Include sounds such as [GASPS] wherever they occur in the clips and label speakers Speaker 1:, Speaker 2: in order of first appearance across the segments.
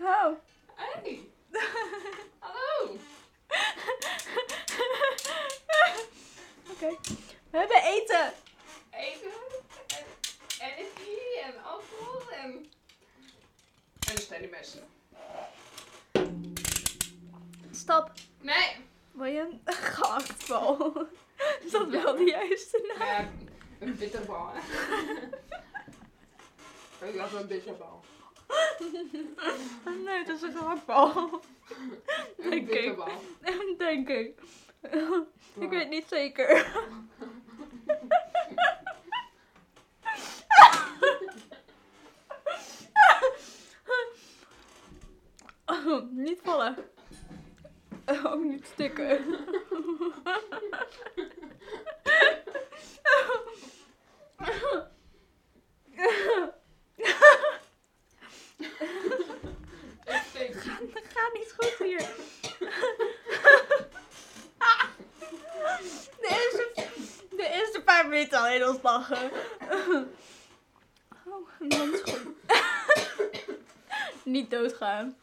Speaker 1: Oh.
Speaker 2: de messen.
Speaker 1: Stap.
Speaker 2: Nee.
Speaker 1: William. Gehaktbal. Is dat wel de juiste naam?
Speaker 2: Ja, een bitterbal. hè. Ik had een bitterbal.
Speaker 1: [LAUGHS] Nee, dat is een gehaktbal.
Speaker 2: Een
Speaker 1: Denk ik.
Speaker 2: bitterbal.
Speaker 1: [LAUGHS] Denk ik. Ik
Speaker 2: Ja.
Speaker 1: weet niet zeker. [LAUGHS] Oh, niet vallen. Ook niet stikken. [LAUGHS]
Speaker 2: Ik steek.
Speaker 1: [LAUGHS] Dat gaat niet goed hier. [LAUGHS] De eerste, de eerste paar minuten alleen ons lachen. Oh, dat is goed. [LAUGHS] Niet doodgaan.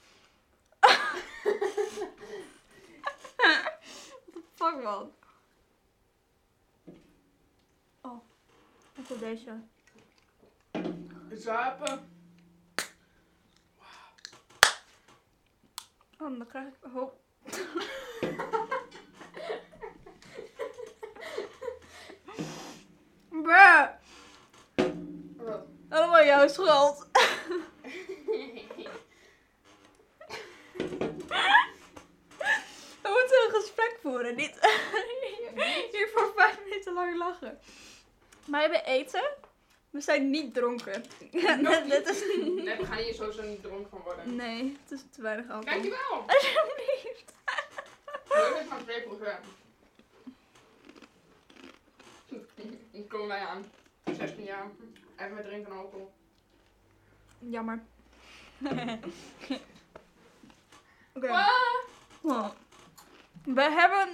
Speaker 1: What the fuck man? Oh, ik wil deze.
Speaker 2: [LAUGHS] Zuipen.
Speaker 1: Oh, dan krijg ik... Oh. Bruh.
Speaker 2: Wat?
Speaker 1: Allemaal jouw schuld. [LAUGHS] We moeten een gesprek voeren, niet [LAUGHS] hier voor vijf minuten lang lachen. Maar we hebben eten. We zijn niet dronken.
Speaker 2: [LAUGHS] Nog niet.
Speaker 1: Dit is...
Speaker 2: Nee, we gaan hier sowieso niet dronken van worden.
Speaker 1: Nee, het is te weinig
Speaker 2: Kijk je
Speaker 1: alcohol.
Speaker 2: wel.
Speaker 1: Alsjeblieft. [LAUGHS]
Speaker 2: Dat is maar twee programma. Ik [LAUGHS] kom wij aan. 16 jaar. Even met drinken en alcohol.
Speaker 1: Jammer. [LAUGHS] Oké.
Speaker 2: Ah.
Speaker 1: Oh. We hebben...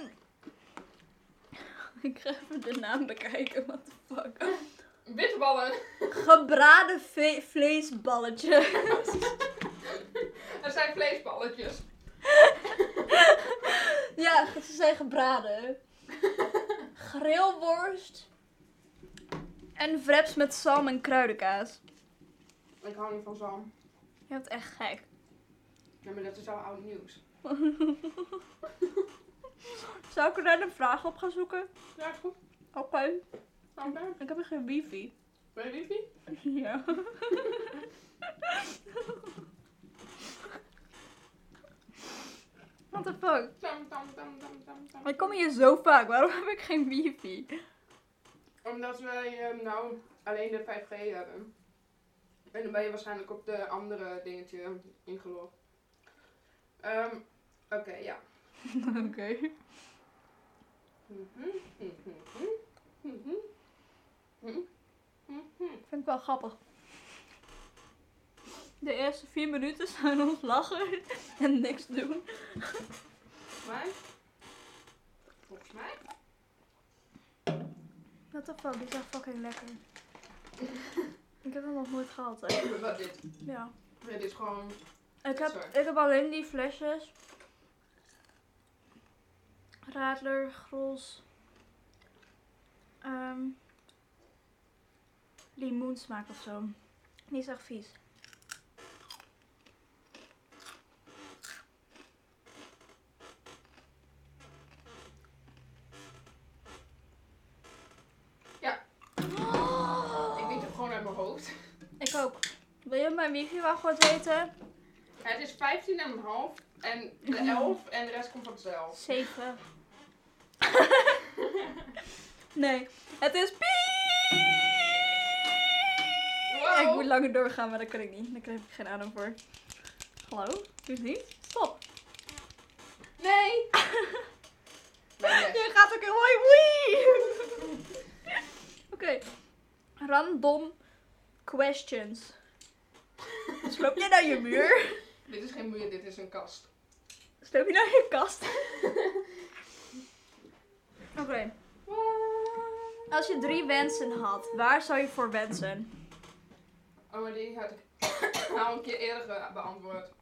Speaker 1: [LAUGHS] Ik ga even de naam bekijken, what the fuck.
Speaker 2: [LAUGHS] Bitterballen.
Speaker 1: Gebraden ve- vleesballetjes.
Speaker 2: Er zijn vleesballetjes.
Speaker 1: Ja, ze zijn gebraden. Grillworst. En wraps met zalm en kruidenkaas.
Speaker 2: Ik hou niet van zalm.
Speaker 1: Je bent echt gek.
Speaker 2: Nee, maar dat is al oud nieuws.
Speaker 1: Zou ik er dan een vraag op gaan zoeken?
Speaker 2: Ja, is goed.
Speaker 1: Oké.
Speaker 2: Nou, daar.
Speaker 1: Ik heb hier geen wifi. [LAUGHS]
Speaker 2: Ben je wifi?
Speaker 1: Ja. What the fuck?
Speaker 2: Tam, tam, tam, tam, tam, tam.
Speaker 1: Ik kom hier zo vaak, waarom heb ik geen wifi?
Speaker 2: Omdat wij ehm, nou alleen de 5G hebben. En dan ben je waarschijnlijk op de andere dingetje ingelogd. Ehm, Oké, ja.
Speaker 1: Oké.
Speaker 2: Mhm, mhm, mhm, mhm, mhm.
Speaker 1: Ik vind het wel grappig. De eerste vier minuten zijn ons lachen en niks doen.
Speaker 2: Volgens mij. Volgens mij.
Speaker 1: What the fuck, die zijn fucking lekker. Ik heb hem nog nooit gehad, hè.
Speaker 2: Wat dit?
Speaker 1: Ja.
Speaker 2: Dit is gewoon.
Speaker 1: Ik heb,
Speaker 2: Sorry.
Speaker 1: ik heb alleen die flesjes. Radler, Gros. Ehm limoensmaak of zo. Niet zo echt vies.
Speaker 2: Ja. Ik weet het gewoon uit mijn hoofd.
Speaker 1: Oh! Ik ook. Wil je mijn wifi wel goed weten?
Speaker 2: Het is 15,5 en de 11 en de rest komt vanzelf.
Speaker 1: 7. [LAUGHS] nee, het is piep. Ik moet
Speaker 2: Wow.
Speaker 1: langer doorgaan, maar dat kan ik niet. Daar krijg ik geen adem voor. Hallo? Dus niet? Stop. [LAUGHS]
Speaker 2: Nee! Mijn best.
Speaker 1: Je gaat ook heel mooi. Wee! [LAUGHS] Oké. Random questions. Sloop je naar je
Speaker 2: [LAUGHS]
Speaker 1: muur?
Speaker 2: Dit is geen muur, dit is een kast.
Speaker 1: Sloop je naar je
Speaker 2: [LAUGHS]
Speaker 1: kast? Oké. Als je drie wensen had, waar zou je voor wensen?
Speaker 2: Oh, maar die had ik [COUGHS] al een keer eerder ge- beantwoord.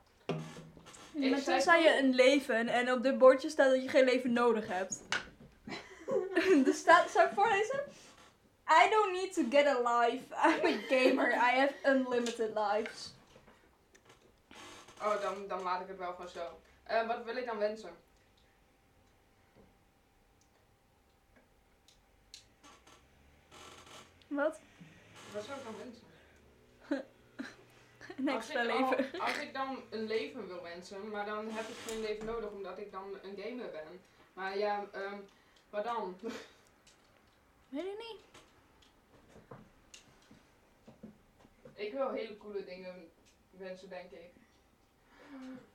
Speaker 2: Ik
Speaker 1: Maar
Speaker 2: zei-
Speaker 1: toen zei je een leven en op dit bordje staat dat je geen leven nodig hebt. dus staat, zou ik voorlezen? I don't need to get a life. I'm a gamer. I have unlimited lives.
Speaker 2: Oh, dan, dan laat ik het wel gewoon zo. Eh, wat wil ik dan wensen?
Speaker 1: Wat?
Speaker 2: Wat zou ik dan wensen?
Speaker 1: Een extra
Speaker 2: als ik,
Speaker 1: leven.
Speaker 2: al- als ik dan een leven wil wensen, maar dan heb ik geen leven nodig omdat ik dan een gamer ben. Maar ja, ehm, wat dan?
Speaker 1: Weet ik niet.
Speaker 2: Ik wil hele coole dingen wensen, denk ik.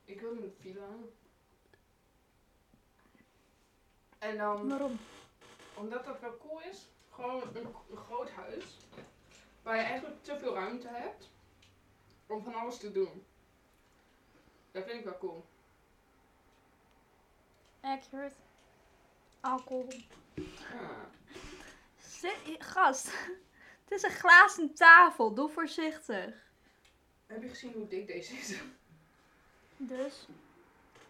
Speaker 2: Ik wil een villa. En dan,
Speaker 1: Waarom?
Speaker 2: omdat dat wel cool is, gewoon een, k- een groot huis. Waar je eigenlijk te veel ruimte hebt om van alles te doen. Dat vind ik wel cool.
Speaker 1: Accurate. Alcohol.
Speaker 2: Ja.
Speaker 1: Zit- gast, [LAUGHS] het is een glazen tafel. Doe voorzichtig.
Speaker 2: Heb je gezien hoe dik deze is?
Speaker 1: Dus?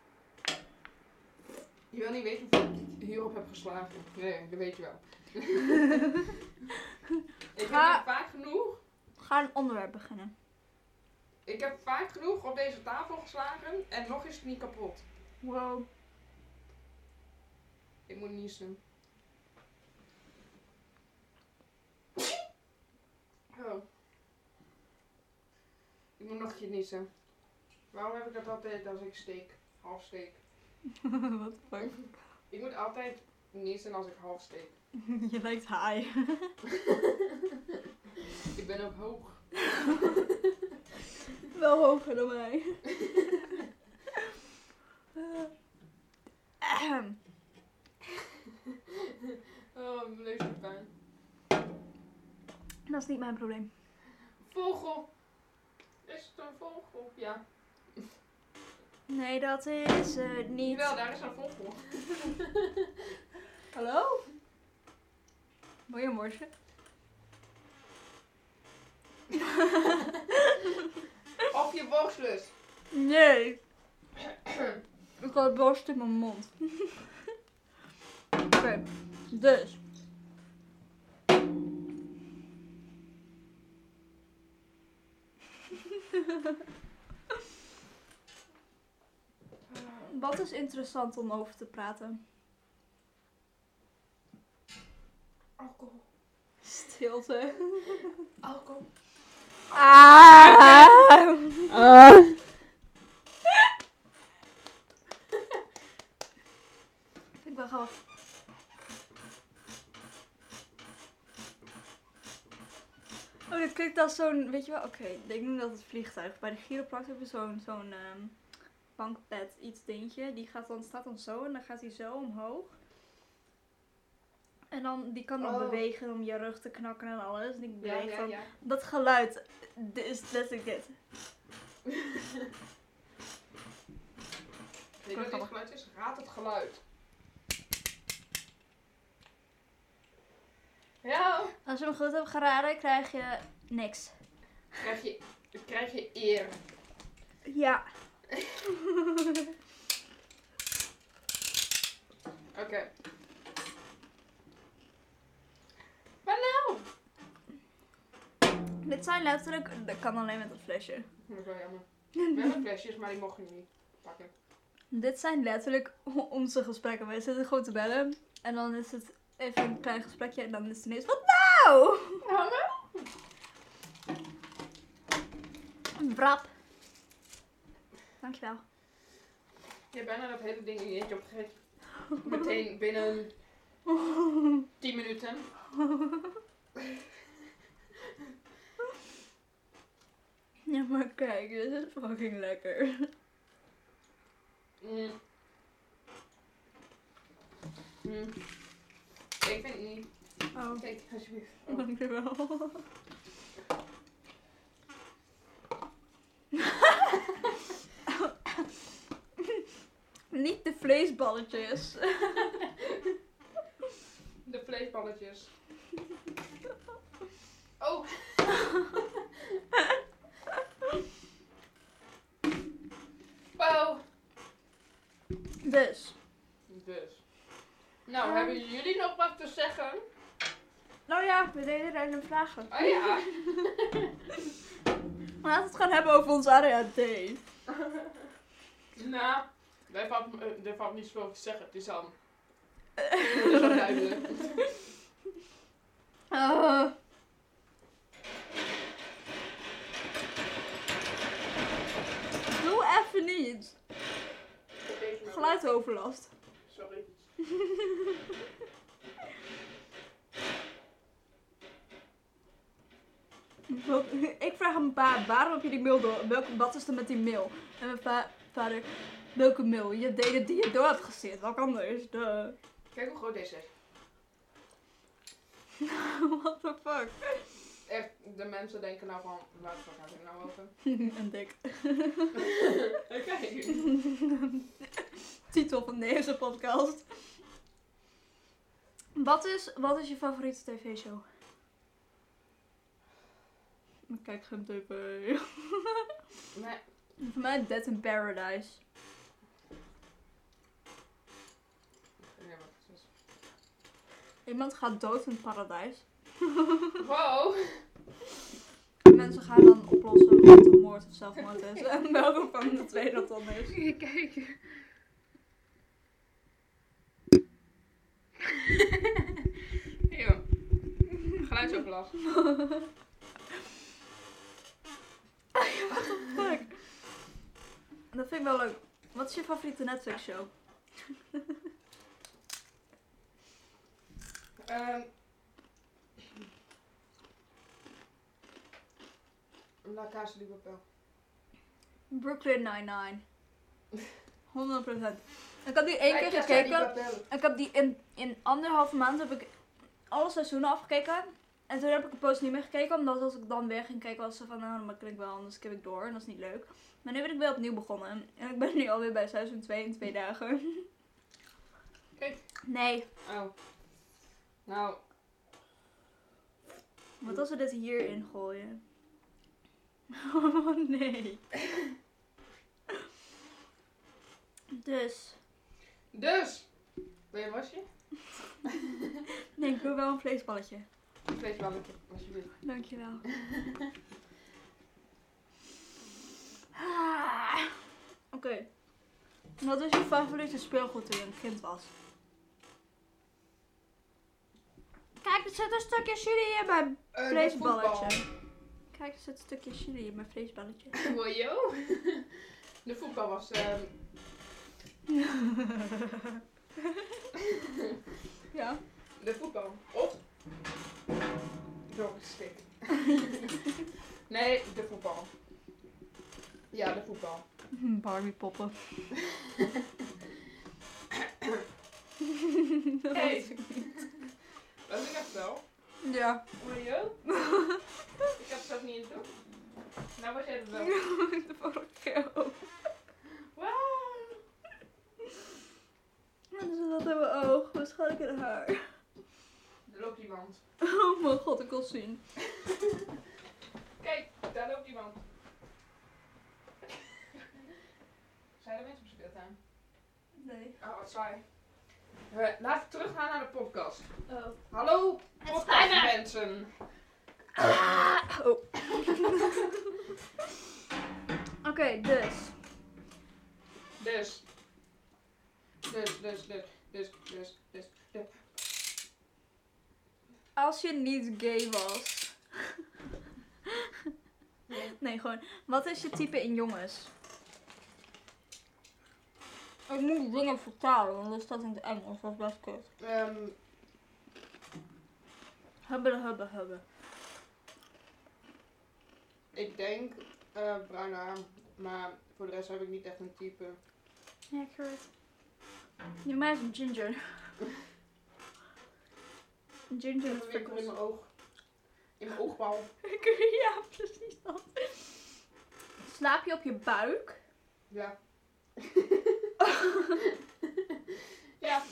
Speaker 2: [LAUGHS] Je wil niet weten of ik hierop heb geslagen. Nee, dat weet je [LAUGHS] wel. ik
Speaker 1: Ga-
Speaker 2: heb vaak genoeg
Speaker 1: Ga een onderwerp beginnen.
Speaker 2: Ik heb vaak genoeg op deze tafel geslagen en nog is het niet kapot.
Speaker 1: [LAUGHS] Wow.
Speaker 2: Ik moet niezen. Oh. Ik moet nog een keer niezen. Waarom heb ik dat altijd als ik steek? Half steek.
Speaker 1: Wat fuck?
Speaker 2: Ik moet altijd niezen als ik half steek.
Speaker 1: [LAUGHS] Je lijkt high.
Speaker 2: Ik ben ook hoog.
Speaker 1: Wel hoger dan mij. Ahem.
Speaker 2: Oh, mijn neus doet pijn.
Speaker 1: Dat is niet mijn probleem.
Speaker 2: Vogel. Is het een vogel? Ja.
Speaker 1: Nee, dat is het niet.
Speaker 2: Jawel, daar is een vogel.
Speaker 1: Hallo? Goedemorgen.
Speaker 2: Of je dus. boxlust.
Speaker 1: Nee. Ik had borst in mijn [LAUGHS] mond. Oké, [LAUGHS] dus. Wat is interessant om over te praten?
Speaker 2: Alcohol.
Speaker 1: Stilte.
Speaker 2: Alcohol.
Speaker 1: Ah. Vind ik wel grappig. Oh, dit klinkt als zo'n, weet je wel, oké, ik noem dat het vliegtuig. Bij de chiropractor hebben we zo'n zo'n ehm, bankbed, iets dingetje. Die gaat dan, staat dan zo en dan gaat hij zo omhoog. En dan, die kan dan
Speaker 2: Oh.
Speaker 1: bewegen om je rug te knakken en alles. En die
Speaker 2: Ja,
Speaker 1: beweegt
Speaker 2: ja,
Speaker 1: dan
Speaker 2: ja.
Speaker 1: dat geluid dit is letterlijk dit.
Speaker 2: Weet je wat dit geluid is? Raad het geluid. Ja.
Speaker 1: Als je hem goed hebt geraden, krijg je niks.
Speaker 2: Krijg je, krijg je eer.
Speaker 1: Ja.
Speaker 2: Oké. Maar nou.
Speaker 1: Dit zijn letterlijk, dat kan alleen met een flesje.
Speaker 2: Dat is wel [LAUGHS] jammer. We hebben flesjes, maar die mochten we niet pakken.
Speaker 1: Dit zijn letterlijk [LAUGHS] o- onze gesprekken. Wij zitten gewoon te bellen en dan is het even een klein gesprekje en dan is het ineens, wat nou? [LAUGHS]
Speaker 2: Hangen?
Speaker 1: Brap. Dankjewel. [LAUGHS]
Speaker 2: Je hebt bijna dat hele ding in je eentje opgegeten. Meteen binnen 10 minuten.
Speaker 1: Ja, maar kijk, dit is fucking lekker.
Speaker 2: Mm. Mm. Ik vind het niet.
Speaker 1: Oh,
Speaker 2: Kijk, alsjeblieft. Oh.
Speaker 1: dankjewel. [LAUGHS] Niet de vleesballetjes.
Speaker 2: De vleesballetjes. [LAUGHS] Oh, wow.
Speaker 1: Dus.
Speaker 2: Dus. Nou, hebben jullie nog wat te zeggen?
Speaker 1: Nou ja, we deden random vragen.
Speaker 2: Oh ja.
Speaker 1: Eh. Maar Laten we het gaan hebben over ons ADHD.
Speaker 2: [LAUGHS] Nou, daar valt, eh, daar valt niet zoveel over te zeggen. Het is [LAUGHS] al, het is al duidelijk.
Speaker 1: Oh. Doe even niet. Geluidsoverlast.
Speaker 2: Sorry.
Speaker 1: Wat- Ik vraag aan mijn pa, waarom heb je die mail door? Welke, wat is er met die mail? En mijn pa- vader, welke mail? Je deed het die je door hebt gestuurd. Wat anders? Duh.
Speaker 2: Kijk hoe groot deze is.
Speaker 1: [LAUGHS] What the [LAUGHS] fuck?
Speaker 2: Echt, de mensen denken nou van, waar de fuck gaat het nou over?
Speaker 1: en dik.
Speaker 2: Kijk.
Speaker 1: [LAUGHS] Titel van deze podcast. Wat is, wat is je favoriete tv-show? Ik kijk geen tv.
Speaker 2: Maar
Speaker 1: [LAUGHS] Voor mij Dead in Paradise.
Speaker 2: Nee, maar precies.
Speaker 1: Iemand gaat dood in het paradijs.
Speaker 2: Wow.
Speaker 1: Mensen gaan dan oplossen wat een moord of zelfmoord is. En [LAUGHS] welke van de twee dat dan is.
Speaker 2: Kijk. Eeuw. Geluidsoverlast.
Speaker 1: Fuck. Dat vind ik wel leuk. Wat is je favoriete Netflix show?
Speaker 2: Ehm. La Casa de Papel.
Speaker 1: Brooklyn [LAUGHS] Nine-Nine. 100%. Ik had die één
Speaker 2: La
Speaker 1: keer
Speaker 2: Casa de
Speaker 1: gekeken.
Speaker 2: Papel.
Speaker 1: Ik heb die in, in anderhalve maand heb ik alle seizoenen afgekeken. En toen heb ik een post niet meer gekeken, omdat als ik dan weer ging kijken was ze van, nou, dat klinkt wel, anders skip ik door en dat is niet leuk. Maar nu ben ik weer opnieuw begonnen. En ik ben nu alweer bij seizoen 2 in twee dagen.
Speaker 2: Kijk.
Speaker 1: Nee,
Speaker 2: Oh. Nou,
Speaker 1: wat als we dit hierin gooien? Oh [LAUGHS] nee. Dus,
Speaker 2: dus. Ben je wasje?
Speaker 1: nee, ik wil wel een vleesballetje.
Speaker 2: Vlees wel een keer, alsjeblieft.
Speaker 1: Dankjewel. [LAUGHS] Oké. Wat is je favoriete speelgoed toen je een kind was? Kijk, er zit een stukje chili in mijn
Speaker 2: Eh, de
Speaker 1: vleesballetje. Kijk, er zit een stukje chili in mijn vleesballetje.
Speaker 2: [LAUGHS] voetbal. Wojo. De voetbal was. ehm,
Speaker 1: Ja.
Speaker 2: de voetbal. Of.
Speaker 1: [LAUGHS]
Speaker 2: Doorgestikt. nee, de voetbal. Ja, de voetbal.
Speaker 1: [LAUGHS] Barbie [LAUGHS] poppen.
Speaker 2: Hey. Dat is echt wel.
Speaker 1: Ja.
Speaker 2: [LAUGHS] Wojo. ik had het ook niet in toe. Nou was jij het wel.
Speaker 1: De [LAUGHS] vorige keer ook.
Speaker 2: Wauw.
Speaker 1: En ze zat in mijn oog, waarschijnlijk in haar.
Speaker 2: Er loopt iemand.
Speaker 1: [LAUGHS] Oh mijn god, ik wil zien.
Speaker 2: Kijk, daar loopt iemand. [LAUGHS] Zijn er mensen op speeltuin?
Speaker 1: Nee.
Speaker 2: Oh, wat saai. We, laten we teruggaan naar de podcast.
Speaker 1: Oh.
Speaker 2: Hallo,
Speaker 1: Het spijt me.
Speaker 2: podcastmensen.
Speaker 1: Ah, oh. Oké, dus.
Speaker 2: Dus. Dus, dus, dus, dus, dus, dus.
Speaker 1: Als je niet gay was.
Speaker 2: Nee.
Speaker 1: Nee, gewoon. Wat is je type in jongens? Ik moet dingen vertalen, want dat staat in het Engels. Dat is best kut.
Speaker 2: Ehm,
Speaker 1: Hebben, hebben, hebben.
Speaker 2: ik denk eh bruine haar, maar voor de rest heb ik niet echt een type.
Speaker 1: Ja, ik hoor het. Je mij is een ginger. Een ginger
Speaker 2: Ik
Speaker 1: met
Speaker 2: heb winkel
Speaker 1: prikkels.
Speaker 2: in mijn oog. In mijn oogbal.
Speaker 1: [LAUGHS] Ja, precies dat. Slaap je op je buik?
Speaker 2: Ja.
Speaker 1: [LAUGHS] [LAUGHS]
Speaker 2: ja,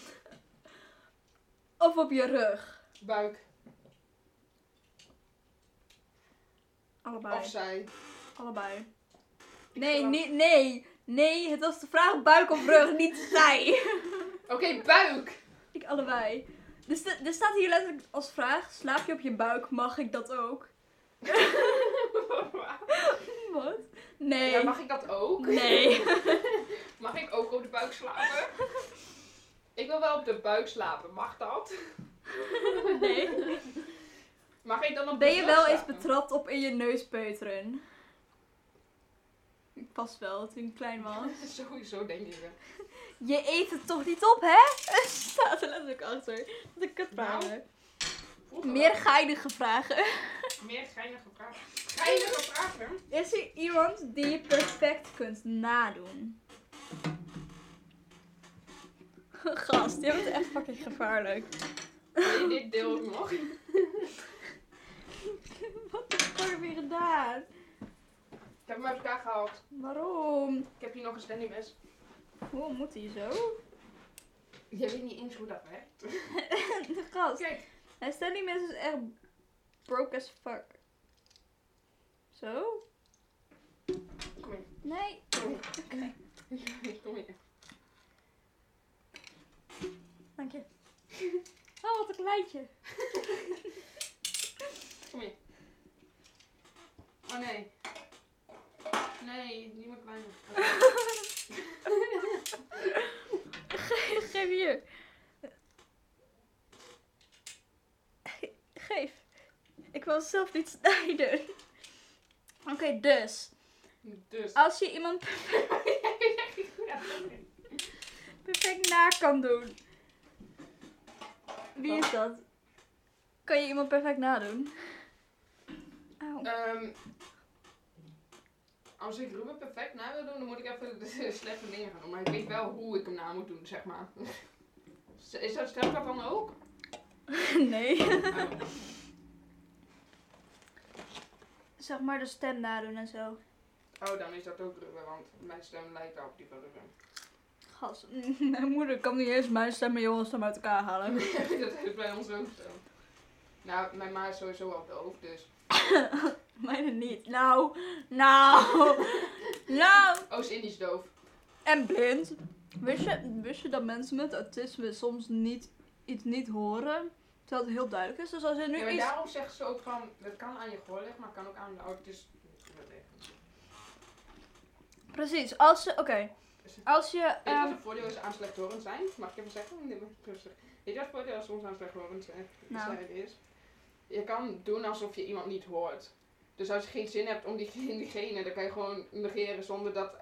Speaker 1: Of op je rug?
Speaker 2: buik.
Speaker 1: Allebei.
Speaker 2: Of zij.
Speaker 1: Allebei. Nee,
Speaker 2: zal-
Speaker 1: nee, nee. Nee, het was de vraag buik of rug, niet zij. [LAUGHS]
Speaker 2: Oké, buik.
Speaker 1: Ik allebei. Dus de- er staat hier letterlijk als vraag, slaap je op je buik, mag ik dat ook? Wat? Nee.
Speaker 2: [LAUGHS] Ja, mag ik dat ook?
Speaker 1: Nee.
Speaker 2: Mag ik ook op de buik
Speaker 1: [LAUGHS]
Speaker 2: slapen? ik wil wel op de buik slapen, mag dat?
Speaker 1: Nee.
Speaker 2: Mag ik dan op
Speaker 1: Ben
Speaker 2: de
Speaker 1: je
Speaker 2: rug
Speaker 1: wel eens
Speaker 2: slapen?
Speaker 1: betrapt op in je neus peuteren? Ik pas wel, toen ik klein was.
Speaker 2: [LAUGHS] Sowieso denk ik wel.
Speaker 1: Je eet het toch niet op, hè? Staat er letterlijk achter. Wat een kutvraag.
Speaker 2: Nou, Vroeger
Speaker 1: Nou, Meer
Speaker 2: wel.
Speaker 1: geinige vragen.
Speaker 2: Meer geinige vragen. Geinige vragen?
Speaker 1: Is er iemand die je perfect kunt nadoen? Gast, je bent echt fucking gevaarlijk.
Speaker 2: Nee, dit deel ook nog.
Speaker 1: Wat heb je weer gedaan?
Speaker 2: Ik heb hem uit elkaar gehaald.
Speaker 1: Waarom?
Speaker 2: Ik heb hier nog een standing mes.
Speaker 1: Hoe moet hij zo?
Speaker 2: Je weet niet eens hoe dat werkt.
Speaker 1: Gast,
Speaker 2: Kijk,
Speaker 1: hij staat niet mensen echt broke as fuck. Zo?
Speaker 2: kom hier.
Speaker 1: Nee.
Speaker 2: Kom
Speaker 1: Oké,
Speaker 2: hier. Kom hier.
Speaker 1: dank [LAUGHS] je. Oh, wat een [LAUGHS] kleintje.
Speaker 2: Kom hier. Oh nee. Nee, niet meer kleiner.
Speaker 1: Geef hier. Geef. Ik wil zelf niet snijden. Oké, dus.
Speaker 2: Dus.
Speaker 1: Als je iemand perfect na kan doen. Wie is dat? Kan je iemand perfect nadoen? Auw.
Speaker 2: Ehm, als ik Ruben perfect na wil doen, dan moet ik even de [LAUGHS] slechte dingen gaan doen. Maar ik weet wel hoe ik hem na moet doen, zeg maar. Is dat straf daarvan ook?
Speaker 1: [LAUGHS] Nee.
Speaker 2: Oh.
Speaker 1: Zeg maar de stem nadoen en zo.
Speaker 2: Oh, dan is dat ook Ruben, want mijn stem lijkt op die van Ruben. [LAUGHS]
Speaker 1: Gas. Mijn moeder kan niet eens mijn stem en jongens stem uit elkaar halen.
Speaker 2: dat is bij ons ook zo. Nou, mijn ma is sowieso al doof, dus...
Speaker 1: Mijne niet. Nou. Nou. Nou.
Speaker 2: Oost-Indisch Oh, doof.
Speaker 1: En blind. Wist je, wist je dat mensen met autisme soms niet, iets niet horen? Terwijl het heel duidelijk is. Dus als er nu
Speaker 2: Ja, maar
Speaker 1: iets...
Speaker 2: daarom zeggen ze ook van, dat kan aan je gehoor liggen, maar kan ook aan de Dus, ouders liggen.
Speaker 1: Precies. Als ze... Oké. Als je...
Speaker 2: Weet je wat
Speaker 1: ehm,
Speaker 2: het voordeel is aan slechthorend zijn? Mag ik even zeggen? Nee, maar rustig. Weet je wat het voordeel soms aan slechthorend zijn
Speaker 1: Nou.
Speaker 2: zijn is? Je kan doen alsof je iemand niet hoort. Dus als je geen zin hebt om diegene, [LAUGHS] diegene dan kan je gewoon negeren zonder dat,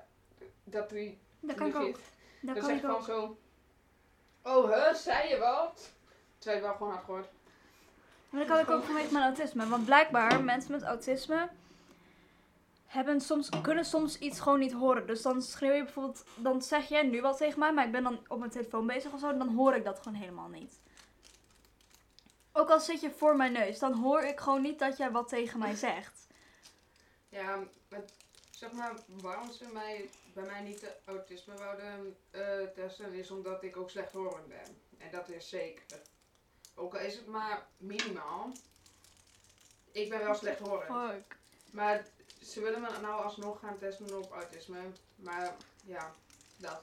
Speaker 2: dat die
Speaker 1: dat kan ik ook.
Speaker 2: negeert.
Speaker 1: Dat
Speaker 2: Dan
Speaker 1: kan ik
Speaker 2: zeg je gewoon
Speaker 1: ook.
Speaker 2: zo, oh hè, zei je wat? Terwijl je wel gewoon had gehoord.
Speaker 1: Maar dat kan ik ook vanwege mijn autisme. Want blijkbaar, mensen met autisme hebben soms, kunnen soms iets gewoon niet horen. Dus dan schreeuw je bijvoorbeeld, dan zeg jij nu wat tegen mij, maar ik ben dan op mijn telefoon bezig of zo, en dan hoor ik dat gewoon helemaal niet. Ook al zit je voor mijn neus, dan hoor ik gewoon niet dat jij wat tegen mij zegt.
Speaker 2: Ja, het- zeg maar, waarom ze mij, bij mij niet de autisme wouden eh, testen, is omdat ik ook slechthorend ben. En dat is zeker. Ook al is het maar minimaal, ik ben wel slechthorend.
Speaker 1: Fuck.
Speaker 2: Maar ze willen me nou alsnog gaan testen op autisme. Maar ja, dat.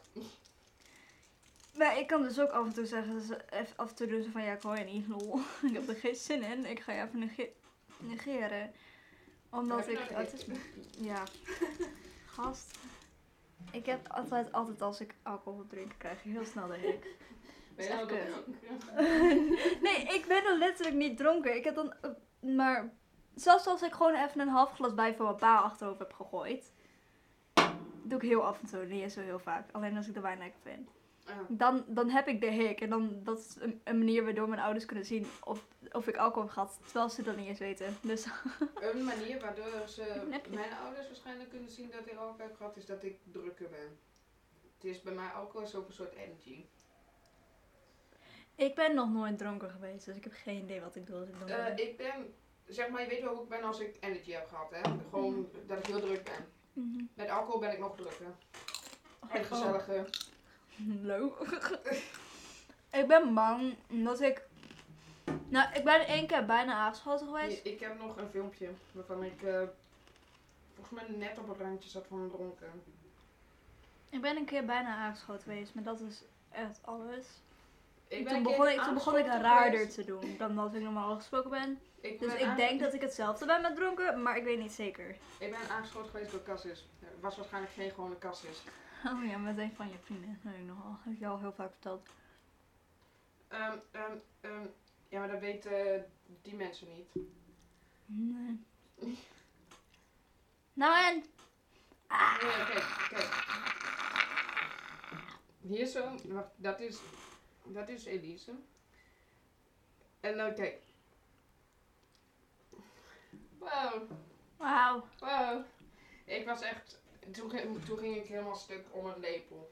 Speaker 1: Maar ik kan dus ook af en toe zeggen, ze- even af en toe doen ze van ja, ik hoor je niet, lol. [LAUGHS] ik heb er geen zin in, ik ga je even nege- negeren. Omdat ik autisme Ja. Gast. Ik heb altijd, altijd als ik alcohol wil drinken, krijg ik heel snel de hik.
Speaker 2: Ben je nou
Speaker 1: Echt
Speaker 2: dronken?
Speaker 1: [LAUGHS] nee, ik ben er letterlijk niet dronken. Ik heb dan, eh, maar zelfs als ik gewoon even een half glas bij van mijn pa achterover heb gegooid. Doe ik heel af en toe, niet eens zo heel vaak. Alleen als ik er wijn lekker vind.
Speaker 2: Ah,
Speaker 1: Dan, dan heb ik de hik. En dan, dat is een, een manier waardoor mijn ouders kunnen zien of, of ik alcohol heb gehad. Terwijl ze dat niet eens weten. Dus [LAUGHS]
Speaker 2: een manier waardoor ze
Speaker 1: Een appje.
Speaker 2: mijn ouders waarschijnlijk kunnen zien dat ik alcohol heb gehad, is dat ik drukker ben. Het is bij mij alcohol is ook een soort energy.
Speaker 1: ik ben nog nooit dronken geweest. Dus ik heb geen idee wat ik doe als ik dronken
Speaker 2: Eh,
Speaker 1: ben.
Speaker 2: ik ben, zeg maar, je weet wel hoe ik ben als ik energy heb gehad, hè?
Speaker 1: Mm.
Speaker 2: Gewoon dat ik heel druk ben.
Speaker 1: Mhm.
Speaker 2: Met alcohol ben ik nog drukker. En
Speaker 1: Oh.
Speaker 2: gezelliger.
Speaker 1: [LAUGHS] Hallo. [LAUGHS] ik ben bang omdat ik. Nou, ik ben één keer bijna aangeschoten
Speaker 2: Ik,
Speaker 1: geweest.
Speaker 2: ik heb nog een filmpje waarvan ik eh, volgens mij net op het randje zat van dronken.
Speaker 1: Ik ben een keer bijna aangeschoten geweest, maar dat is echt alles.
Speaker 2: Ik ben
Speaker 1: toen
Speaker 2: een
Speaker 1: begon,
Speaker 2: keer
Speaker 1: ik, toen begon ik
Speaker 2: aangeschoten
Speaker 1: raarder
Speaker 2: geweest.
Speaker 1: te doen dan wat ik normaal gesproken ben.
Speaker 2: Ik
Speaker 1: Dus
Speaker 2: ben
Speaker 1: ik
Speaker 2: aange-
Speaker 1: denk dat ik hetzelfde ben met dronken, maar ik weet niet zeker.
Speaker 2: Ik ben aangeschoten geweest door Cassis. Het was waarschijnlijk geen gewone Cassis.
Speaker 1: [LAUGHS] Oh ja, met een van je vrienden. Dat heb ik nogal. Heb je al heel vaak verteld.
Speaker 2: Ehm, ehm, ehm, ja, maar dat weten eh, die mensen niet.
Speaker 1: Nee. Nou en? Ah.
Speaker 2: Nee, kijk, kijk. Hier zo, wacht, dat is, dat is Elise. En nou kijk. Wow,
Speaker 1: Wauw.
Speaker 2: wow. Ik was echt, toen, ging- toen ging ik helemaal stuk om een lepel.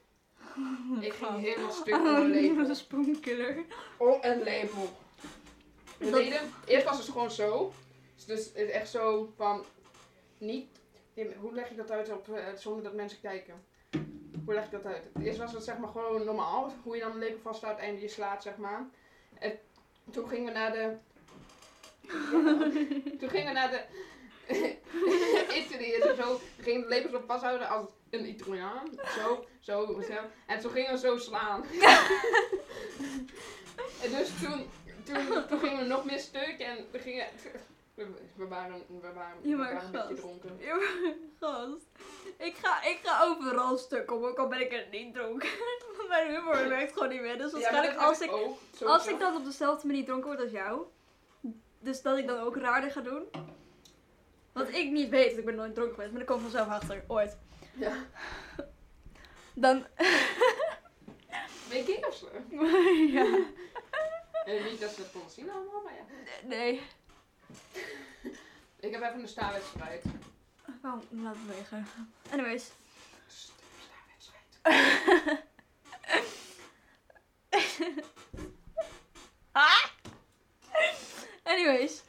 Speaker 2: Ik ging helemaal stuk
Speaker 1: [LAUGHS]
Speaker 2: om een
Speaker 1: Oh,
Speaker 2: lepel.
Speaker 1: de spoenkiller.
Speaker 2: Om een lepel. Oh, De
Speaker 1: Dat-
Speaker 2: reden- eerst was het gewoon zo. Dus het is echt zo van, niet, nee, hoe leg ik dat uit op, eh, zonder dat mensen kijken? Hoe leg ik dat uit? Eerst was het zeg maar gewoon normaal, hoe je dan een lepel vasthoudt en je slaat zeg maar. En toen gingen we naar de, toen gingen we naar de, [LAUGHS] Italië en zo, we gingen de lepels op vasthouden als een Italiaan, zo, zo, zo. En toen gingen we zo slaan. [LAUGHS] en dus toen, toen, toen gingen we nog meer stuk en we gingen... We, we waren, we waren,
Speaker 1: Je
Speaker 2: we
Speaker 1: maar
Speaker 2: waren een beetje
Speaker 1: gast.
Speaker 2: dronken.
Speaker 1: Ja, maar [LAUGHS] Gast. Ik ga, ik ga overal stuk om, ook al ben ik er niet dronken. [LAUGHS] Mijn humor werkt gewoon niet meer. Dus waarschijnlijk als ik, als ik dan op dezelfde manier dronken word als jou. Dus dat ik dan ook raarder ga doen. Wat ik niet weet, want ik ben nooit dronken geweest, maar ik kom vanzelf achter, ooit.
Speaker 2: Ja.
Speaker 1: Dan, [LAUGHS]
Speaker 2: Ben je gay of zo?
Speaker 1: ja,
Speaker 2: En niet dat ze dat konden zien allemaal, maar ja.
Speaker 1: nee.
Speaker 2: Ik heb even een staarwedstrijd.
Speaker 1: Waarom Oh, laat het wegen? Anyways.
Speaker 2: St- Staarwedstrijd.
Speaker 1: Anyways.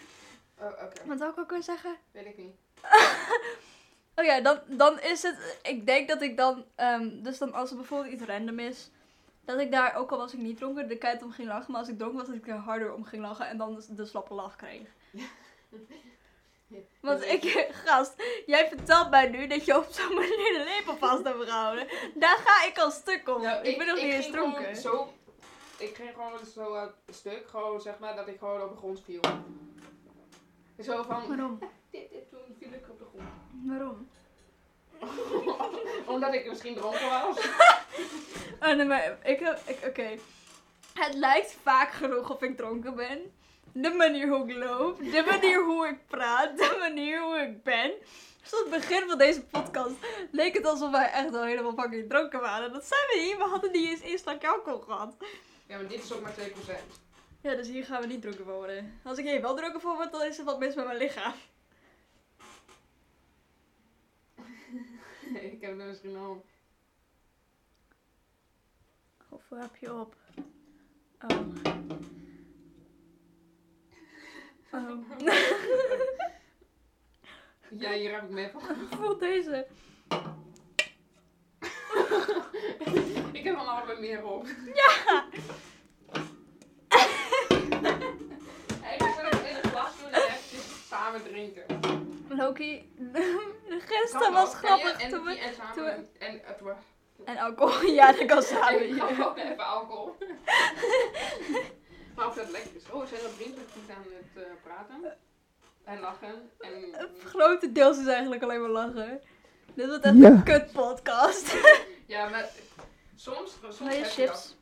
Speaker 2: Oh, oké.
Speaker 1: Wat zou ik ook kunnen zeggen?
Speaker 2: Weet ik niet.
Speaker 1: Oh ja, dan, dan is het. Ik denk dat ik dan. ehm, dus dan als er bijvoorbeeld iets random is. Dat ik daar, ook al was ik niet dronken, de keihard om ging lachen. Maar als ik dronken was, dat ik er harder om ging lachen. En dan dus de slappe lach [LAUGHS] kreeg. Want ik, gast, jij vertelt mij nu dat je op zo'n manier de lepel vast hebt gehouden. Daar ga ik al stuk om.
Speaker 2: Nou,
Speaker 1: ik, ben nog niet eens
Speaker 2: ging gewoon
Speaker 1: dronken.
Speaker 2: Zo, ik ging gewoon zo uit het stuk, gewoon zeg maar, dat ik gewoon op de grond viel.
Speaker 1: [LAUGHS]
Speaker 2: Zo van,
Speaker 1: Waarom?
Speaker 2: dit, dit, toen viel ik op de grond.
Speaker 1: Waarom?
Speaker 2: Omdat ik misschien dronken was.
Speaker 1: Oh, nee, maar ik heb. ik- Oké. Het lijkt vaak genoeg of ik dronken ben. De manier hoe ik loop, de manier hoe ik praat, de manier hoe ik ben. Dus aan het begin van deze podcast leek het alsof wij echt al helemaal fucking dronken waren. Dat zijn we niet, we hadden niet eens eerst aan alcohol gehad.
Speaker 2: Ja, maar dit is ook maar 2%.
Speaker 1: Ja, dus hier gaan we niet dronken van worden. Als ik hier wel dronken van word, dan is er wat mis met mijn lichaam.
Speaker 2: [LAUGHS] ik heb er misschien al...
Speaker 1: Of heb je op? Oh. [LAUGHS] Oh. [LAUGHS]
Speaker 2: Ja, hier heb ik mee van. [LAUGHS]
Speaker 1: Bijvoorbeeld deze.
Speaker 2: Ik heb al allebei meer op. Ja! [LAUGHS] hey, ik ga het in een glas doen en eventjes samen drinken.
Speaker 1: [LAUGHS] Loki,
Speaker 2: Kan
Speaker 1: gisteren
Speaker 2: wel.
Speaker 1: Dus was
Speaker 2: Kan
Speaker 1: grappig
Speaker 2: je en,
Speaker 1: toen we...
Speaker 2: die en
Speaker 1: toen
Speaker 2: samen.
Speaker 1: we-
Speaker 2: En eh, toen we-
Speaker 1: En alcohol, [LAUGHS] ja, dat kan samen.
Speaker 2: [LAUGHS] Ik gaf ook even
Speaker 1: [LAUGHS]
Speaker 2: alcohol. maar of dat lekker is. Oh, we zijn er vriendelijk goed aan het eh, praten. En lachen. En,
Speaker 1: Eh, Grotendeels is eigenlijk alleen maar lachen. Dit wordt echt
Speaker 2: Ja.
Speaker 1: een kut podcast.
Speaker 2: ja, maar soms... soms
Speaker 1: Wil je
Speaker 2: heb
Speaker 1: chips?
Speaker 2: dat.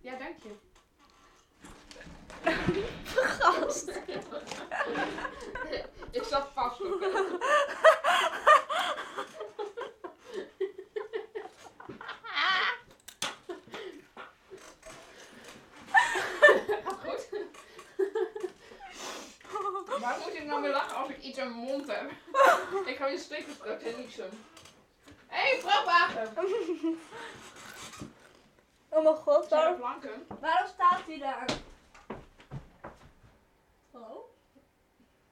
Speaker 2: Ja, dank je.
Speaker 1: Gast.
Speaker 2: Ik zat vast. Op, Gaat goed. Waarom moet ik nou weer lachen als ik iets in mijn mond heb? ik ga weer stikken straks en niezen. Hé, hey, vrachtwagen!
Speaker 1: Oh mijn god,
Speaker 2: Zijn er
Speaker 1: waarom,
Speaker 2: planken?
Speaker 1: waarom staat hij daar? Oh, Hallo?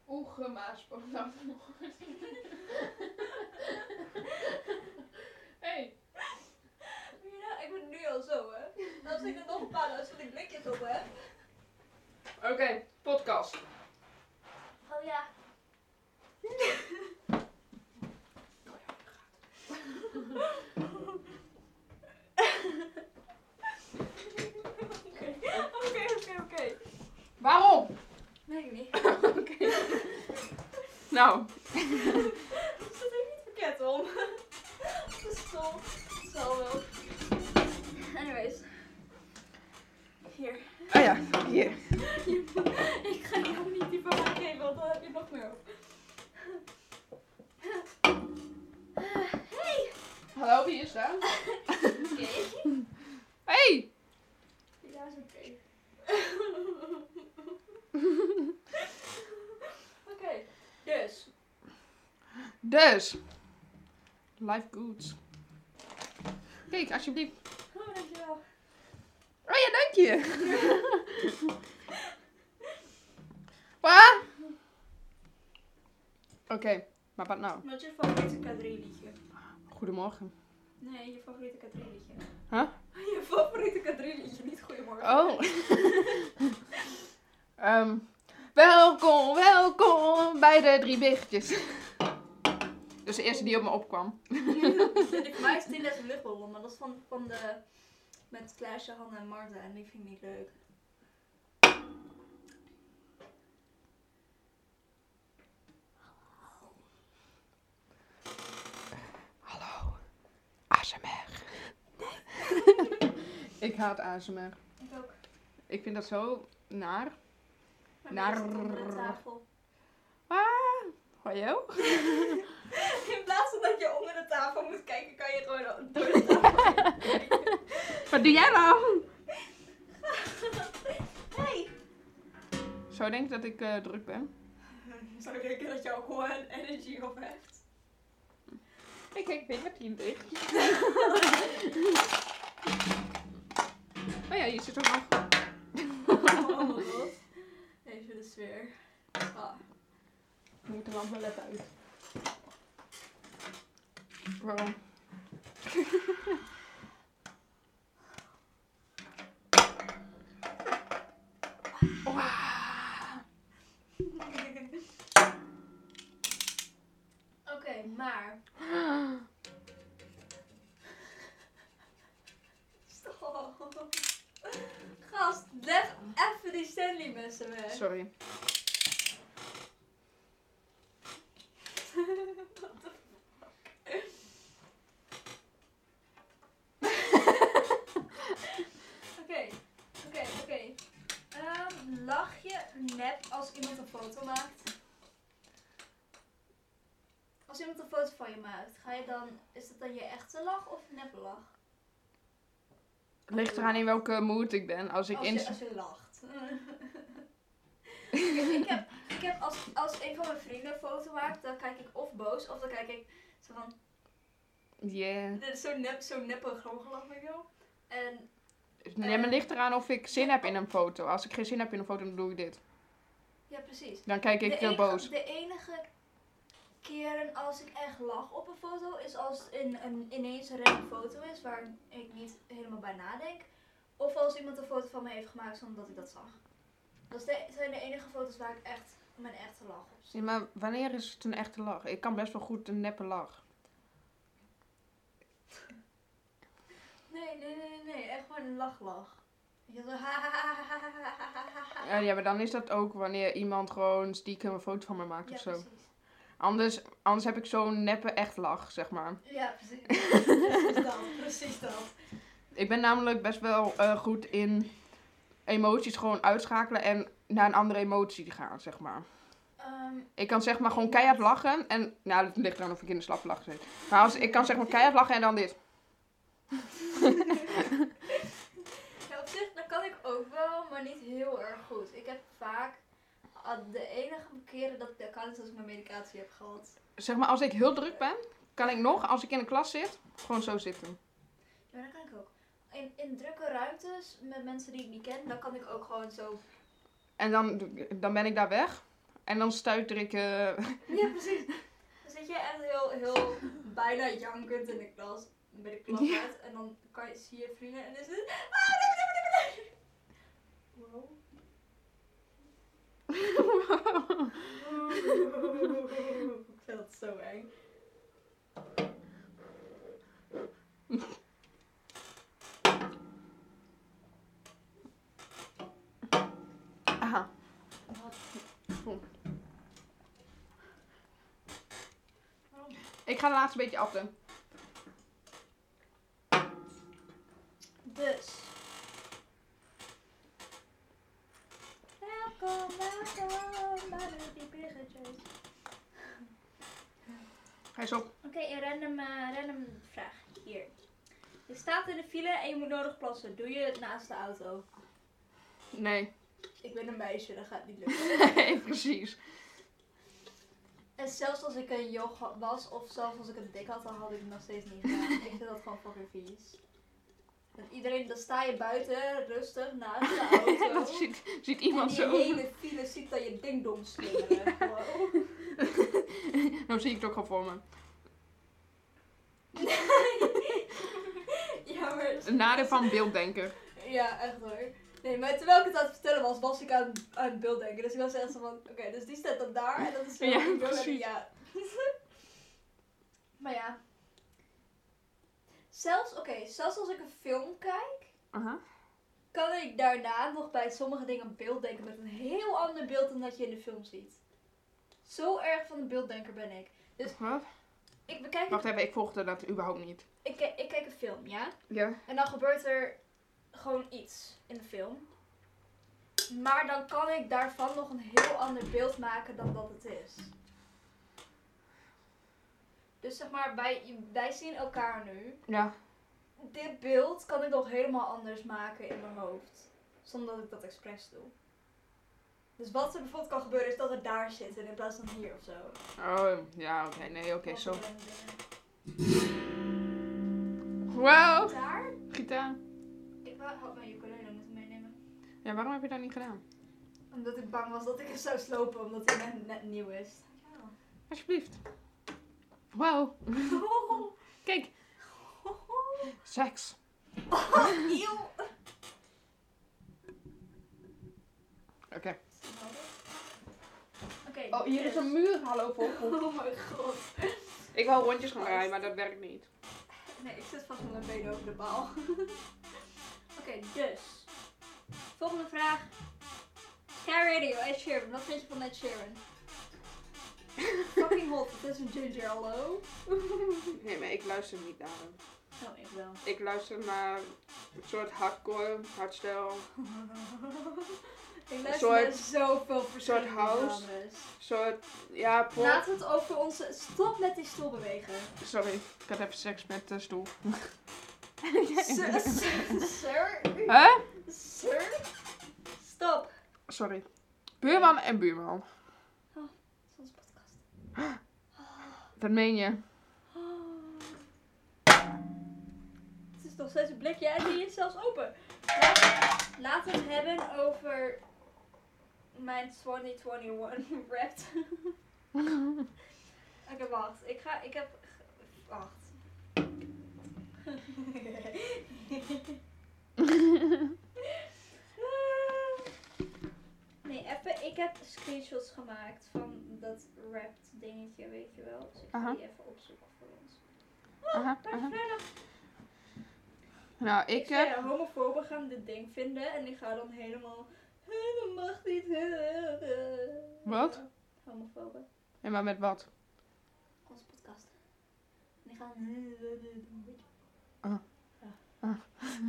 Speaker 2: Oeh, gemaas. Oh, nou, vanochtend. Hé, hey,
Speaker 1: Ja, ik ben nu al zo, hè. Als ik er nog een paar dan zet ik blikjes op, hè.
Speaker 2: oké, podcast.
Speaker 1: Oh ja.
Speaker 2: Oké,
Speaker 1: [LAUGHS]
Speaker 2: Nou,
Speaker 1: Ik zit er niet verkeerd om. Dat is zo. Zal wel. Anyways. Hier.
Speaker 2: ah ja, hier.
Speaker 1: Je moet- [LAUGHS] Ik ga jou niet die van mij geven, want dan heb je nog meer op.
Speaker 3: Hallo, wie is daar?
Speaker 1: Oké.
Speaker 2: Hey!
Speaker 1: Ja, is oké.
Speaker 2: [LAUGHS]
Speaker 1: Oké, dus.
Speaker 2: Dus. Life goods. Kijk, alsjeblieft.
Speaker 1: Oh, dankjewel.
Speaker 2: Oh ja, dank je. [LAUGHS] Wat? Oké, maar wat nou?
Speaker 1: Wat is je favoriete K3-liedje?
Speaker 2: Goedemorgen.
Speaker 1: Nee, je favoriete K3-liedje.
Speaker 2: Huh?
Speaker 1: [LAUGHS] Je favoriete K3-liedje, niet Goedemorgen.
Speaker 2: [LAUGHS] Oh. Ehm, welkom, welkom bij de drie biggetjes. Dat is de eerste die op me opkwam.
Speaker 1: Voor mij is Tilda een luchtballon, maar dat is van, van de. met Klaasje, Hanna en Marta en die vind ik niet leuk.
Speaker 2: Hallo, ASMR. ik haat ASMR.
Speaker 1: Ik ook.
Speaker 2: Ik vind dat zo naar.
Speaker 1: Maar
Speaker 2: Naar-
Speaker 1: meestal onder de tafel. [LAUGHS]
Speaker 2: Ah, Hallo?
Speaker 1: In plaats van dat je onder de tafel moet kijken, kan je gewoon door de tafel kijken.
Speaker 2: Wat doe jij nou?
Speaker 1: Hey!
Speaker 2: Zo denk ik dat ik eh, druk ben.
Speaker 1: [LAUGHS] Zou ik denken dat je ook gewoon energy op [LAUGHS] hebt?
Speaker 2: Kijk, ik weet wat hier ligt. oh ja, hier zit ook nog.
Speaker 1: Oh, wat? Even de sfeer. [LAUGHS] Ah.
Speaker 2: Ik [LAUGHS] moet de lamp wel even uit. Waarom?
Speaker 1: Oké, maar. Stop. Gast, leg even die Stanley messen weg.
Speaker 2: Sorry.
Speaker 1: Oké, oké, oké. Ehm, Lach je nep als iemand een foto maakt? Als iemand een foto van je maakt, ga je dan, is dat dan je echte lach of nep lach?
Speaker 2: Ligt eraan in welke mood ik ben. Als ik
Speaker 1: als,
Speaker 2: in...
Speaker 1: je, als je lacht. [LAUGHS] ik, ik heb, ik heb als, als een van mijn vrienden een foto maakt, dan kijk ik of boos of dan kijk ik zo van,
Speaker 2: Yeah.
Speaker 1: dit is zo'n nep, zo'n neppe gromgelach, weet je wel. En
Speaker 2: Nee, maar ligt eraan of ik zin heb in een foto. Als ik geen zin heb in een foto, dan doe ik dit.
Speaker 1: ja, precies.
Speaker 2: Dan kijk ik heel
Speaker 1: enige-
Speaker 2: boos.
Speaker 1: De enige keren als ik echt lach op een foto is als het in, een, ineens een random foto is waar ik niet helemaal bij nadenk. Of als iemand een foto van me heeft gemaakt zonder dat ik dat zag. Dat is de- zijn de enige foto's waar ik echt mijn echte lach op zie.
Speaker 2: Ja, maar wanneer is het een echte lach? Ik kan best wel goed een neppe lach.
Speaker 1: Nee, nee, nee, nee, nee. Echt gewoon een lachlach. Weet je, zo
Speaker 2: Ja, Eh, ja, maar dan is dat ook wanneer iemand gewoon stiekem een foto van me maakt
Speaker 1: Ja,
Speaker 2: of zo.
Speaker 1: precies.
Speaker 2: Anders, anders heb ik zo'n neppe echt lach, zeg maar.
Speaker 1: Ja,
Speaker 2: [LAUGHS]
Speaker 1: precies. precies dat, precies dat.
Speaker 2: Ik ben namelijk best wel eh, goed in emoties gewoon uitschakelen en naar een andere emotie gaan, zeg maar.
Speaker 1: Ehm,
Speaker 2: Ik kan zeg maar gewoon keihard lachen en... Nou, het ligt eraan of ik in de slappe lach zit. Maar als, ik kan zeg maar keihard lachen en dan dit.
Speaker 1: Ja, op zich, dat kan ik ook wel, maar niet heel erg goed. Ik heb vaak ah, de enige keren dat ik dat kan is als ik mijn medicatie heb gehad.
Speaker 2: Zeg maar, als ik heel druk ben, kan ik nog, als ik in de klas zit, gewoon zo zitten.
Speaker 1: Ja, dat kan ik ook. In, in drukke ruimtes met mensen die ik niet ken, dan kan ik ook gewoon zo.
Speaker 2: En dan, dan ben ik daar weg. En dan stuiter ik... eh, [LAUGHS]
Speaker 1: [LAUGHS] Ja, precies. Dan zit je echt heel, heel bijna jankend in de klas, bij de klas uit, en dan kan je, zie je vrienden en dan is het. Ah, nee, nee, nee, nee, nee. Wow. [LAUGHS] Ik vind dat zo eng.
Speaker 2: Aha.
Speaker 1: Wat?
Speaker 2: Oh. ga de laatste beetje atten.
Speaker 1: Dus. Welkom, welkom bij de Dieperiggetjes.
Speaker 2: Ga eens op.
Speaker 1: Oké, een random, eh, random vraag. Hier. Je staat in de file en je moet nodig plassen. Doe je het naast de auto?
Speaker 2: Nee. [LAUGHS]
Speaker 1: Ik ben een meisje, dat gaat niet lukken.
Speaker 2: Nee, precies.
Speaker 1: [LAUGHS] en zelfs als ik een yoga was of zelfs als ik een dik had, dan had ik het nog steeds niet gedaan. ik vind dat gewoon fucking vies. En iedereen, dan sta je buiten, rustig, naast de [LAUGHS] auto.
Speaker 2: dat ziet, ziet iemand
Speaker 1: en
Speaker 2: zo.
Speaker 1: die hele file ziet dat je dingdong [LAUGHS] slingeren. Gewoon. oh
Speaker 2: [LAUGHS] Nou zie ik het ook gewoon voor me.
Speaker 1: [LAUGHS] ja, maar...
Speaker 2: Een nadeel van beelddenker.
Speaker 1: Ja, echt hoor. Nee, maar terwijl ik het aan het vertellen was, was ik aan, aan het beeld denken. Dus ik was echt zo van, oké, dus die staat dan daar en dat is zo.
Speaker 2: Ja,
Speaker 1: ik wil hebben-
Speaker 2: precies.
Speaker 1: Ja. [LAUGHS] maar ja. Zelfs, oké, zelfs als ik een film kijk,
Speaker 2: Aha.
Speaker 1: kan ik daarna nog bij sommige dingen beeld denken met een heel ander beeld dan dat je in de film ziet. Zo erg van een beelddenker ben ik.
Speaker 2: Wat?
Speaker 1: Ik bekijk,
Speaker 2: Wacht even, ik volgde dat überhaupt niet.
Speaker 1: ik, kijk- ik kijk een film, ja?
Speaker 2: Ja.
Speaker 1: En dan gebeurt er gewoon iets in de film. Maar dan kan ik daarvan nog een heel ander beeld maken dan dat het is. Dus zeg maar, wij, wij zien elkaar nu.
Speaker 2: Ja.
Speaker 1: Dit beeld kan ik nog helemaal anders maken in mijn hoofd. Zonder dat ik dat expres doe. Dus wat er bijvoorbeeld kan gebeuren is dat we daar zitten in plaats van hier of zo.
Speaker 2: Oh, ja, oké. Nee, oké,
Speaker 1: Of
Speaker 2: zo.
Speaker 1: een, eh,
Speaker 2: Wow.
Speaker 1: Daar?
Speaker 2: Gitaar.
Speaker 1: Ik wou- had mijn ukulele moeten meenemen.
Speaker 2: Ja, waarom heb je dat niet gedaan?
Speaker 1: Omdat ik bang was dat ik hem zou slopen, omdat hij net, net nieuw is.
Speaker 2: Alsjeblieft. Wow.
Speaker 1: Oh,
Speaker 2: Kijk. Seks.
Speaker 1: eeuw.
Speaker 2: Oké.
Speaker 1: Oké.
Speaker 2: Oh, hier is een muur. Hallo, vogel.
Speaker 1: Oh mijn god.
Speaker 2: Ik wou rondjes gaan draaien, maar dat werkt niet.
Speaker 1: Nee, ik zit vast met mijn benen over de bal. Oké, dus. Volgende vraag. Sky Radio, Ed Sheeran. Wat vind je van Ed Sheeran? Fucking hot, het is een ginger, hallo.
Speaker 2: Nee, maar ik luister niet naar hem.
Speaker 1: Oh, ik wel.
Speaker 2: Ik luister naar een soort hardcore, hardstyle, een
Speaker 1: [LAUGHS] ik
Speaker 2: Een
Speaker 1: luister
Speaker 2: soort-
Speaker 1: naar zoveel verschillende
Speaker 2: house.
Speaker 1: genres.
Speaker 2: soort, ja, pop.
Speaker 1: Laten we het over onze... Stop met die stoel
Speaker 2: [LAUGHS]
Speaker 1: bewegen.
Speaker 2: Sorry, ik had even seks met de stoel.
Speaker 1: Sir, sir,
Speaker 2: Huh?
Speaker 1: sir. Stop.
Speaker 2: Sorry. Buurman en buurman.
Speaker 1: Onze podcast. [GASPS]
Speaker 2: Dat meen je. [LAUGHS]
Speaker 1: Het is nog steeds een blikje en die is zelfs open. Laat- Laten we het hebben over mijn [LAUGHS] 2021 Wrapped. Oké, wacht. Ik ga, ik heb, wacht. [LAUGHS] Nee, even, ik heb screenshots gemaakt van dat wrapped dingetje, weet je wel. Dus ik ga
Speaker 2: Aha.
Speaker 1: die even opzoeken voor ons.
Speaker 2: Aha,
Speaker 1: Daar
Speaker 2: aha.
Speaker 1: vrijdag.
Speaker 2: Nou,
Speaker 1: Ik
Speaker 2: ik
Speaker 1: zei,
Speaker 2: heb...
Speaker 1: ja, homofoben gaan dit ding vinden en ik ga dan helemaal... "Hè, Dat mag niet. hè, hè."
Speaker 2: Wat?
Speaker 1: Homofoben.
Speaker 2: Nee, maar met [LAUGHS] wat?
Speaker 1: Onze podcast. En die gaan... "Hè, hè, hè, doen."
Speaker 2: Ah.
Speaker 1: Ja.
Speaker 2: Ah,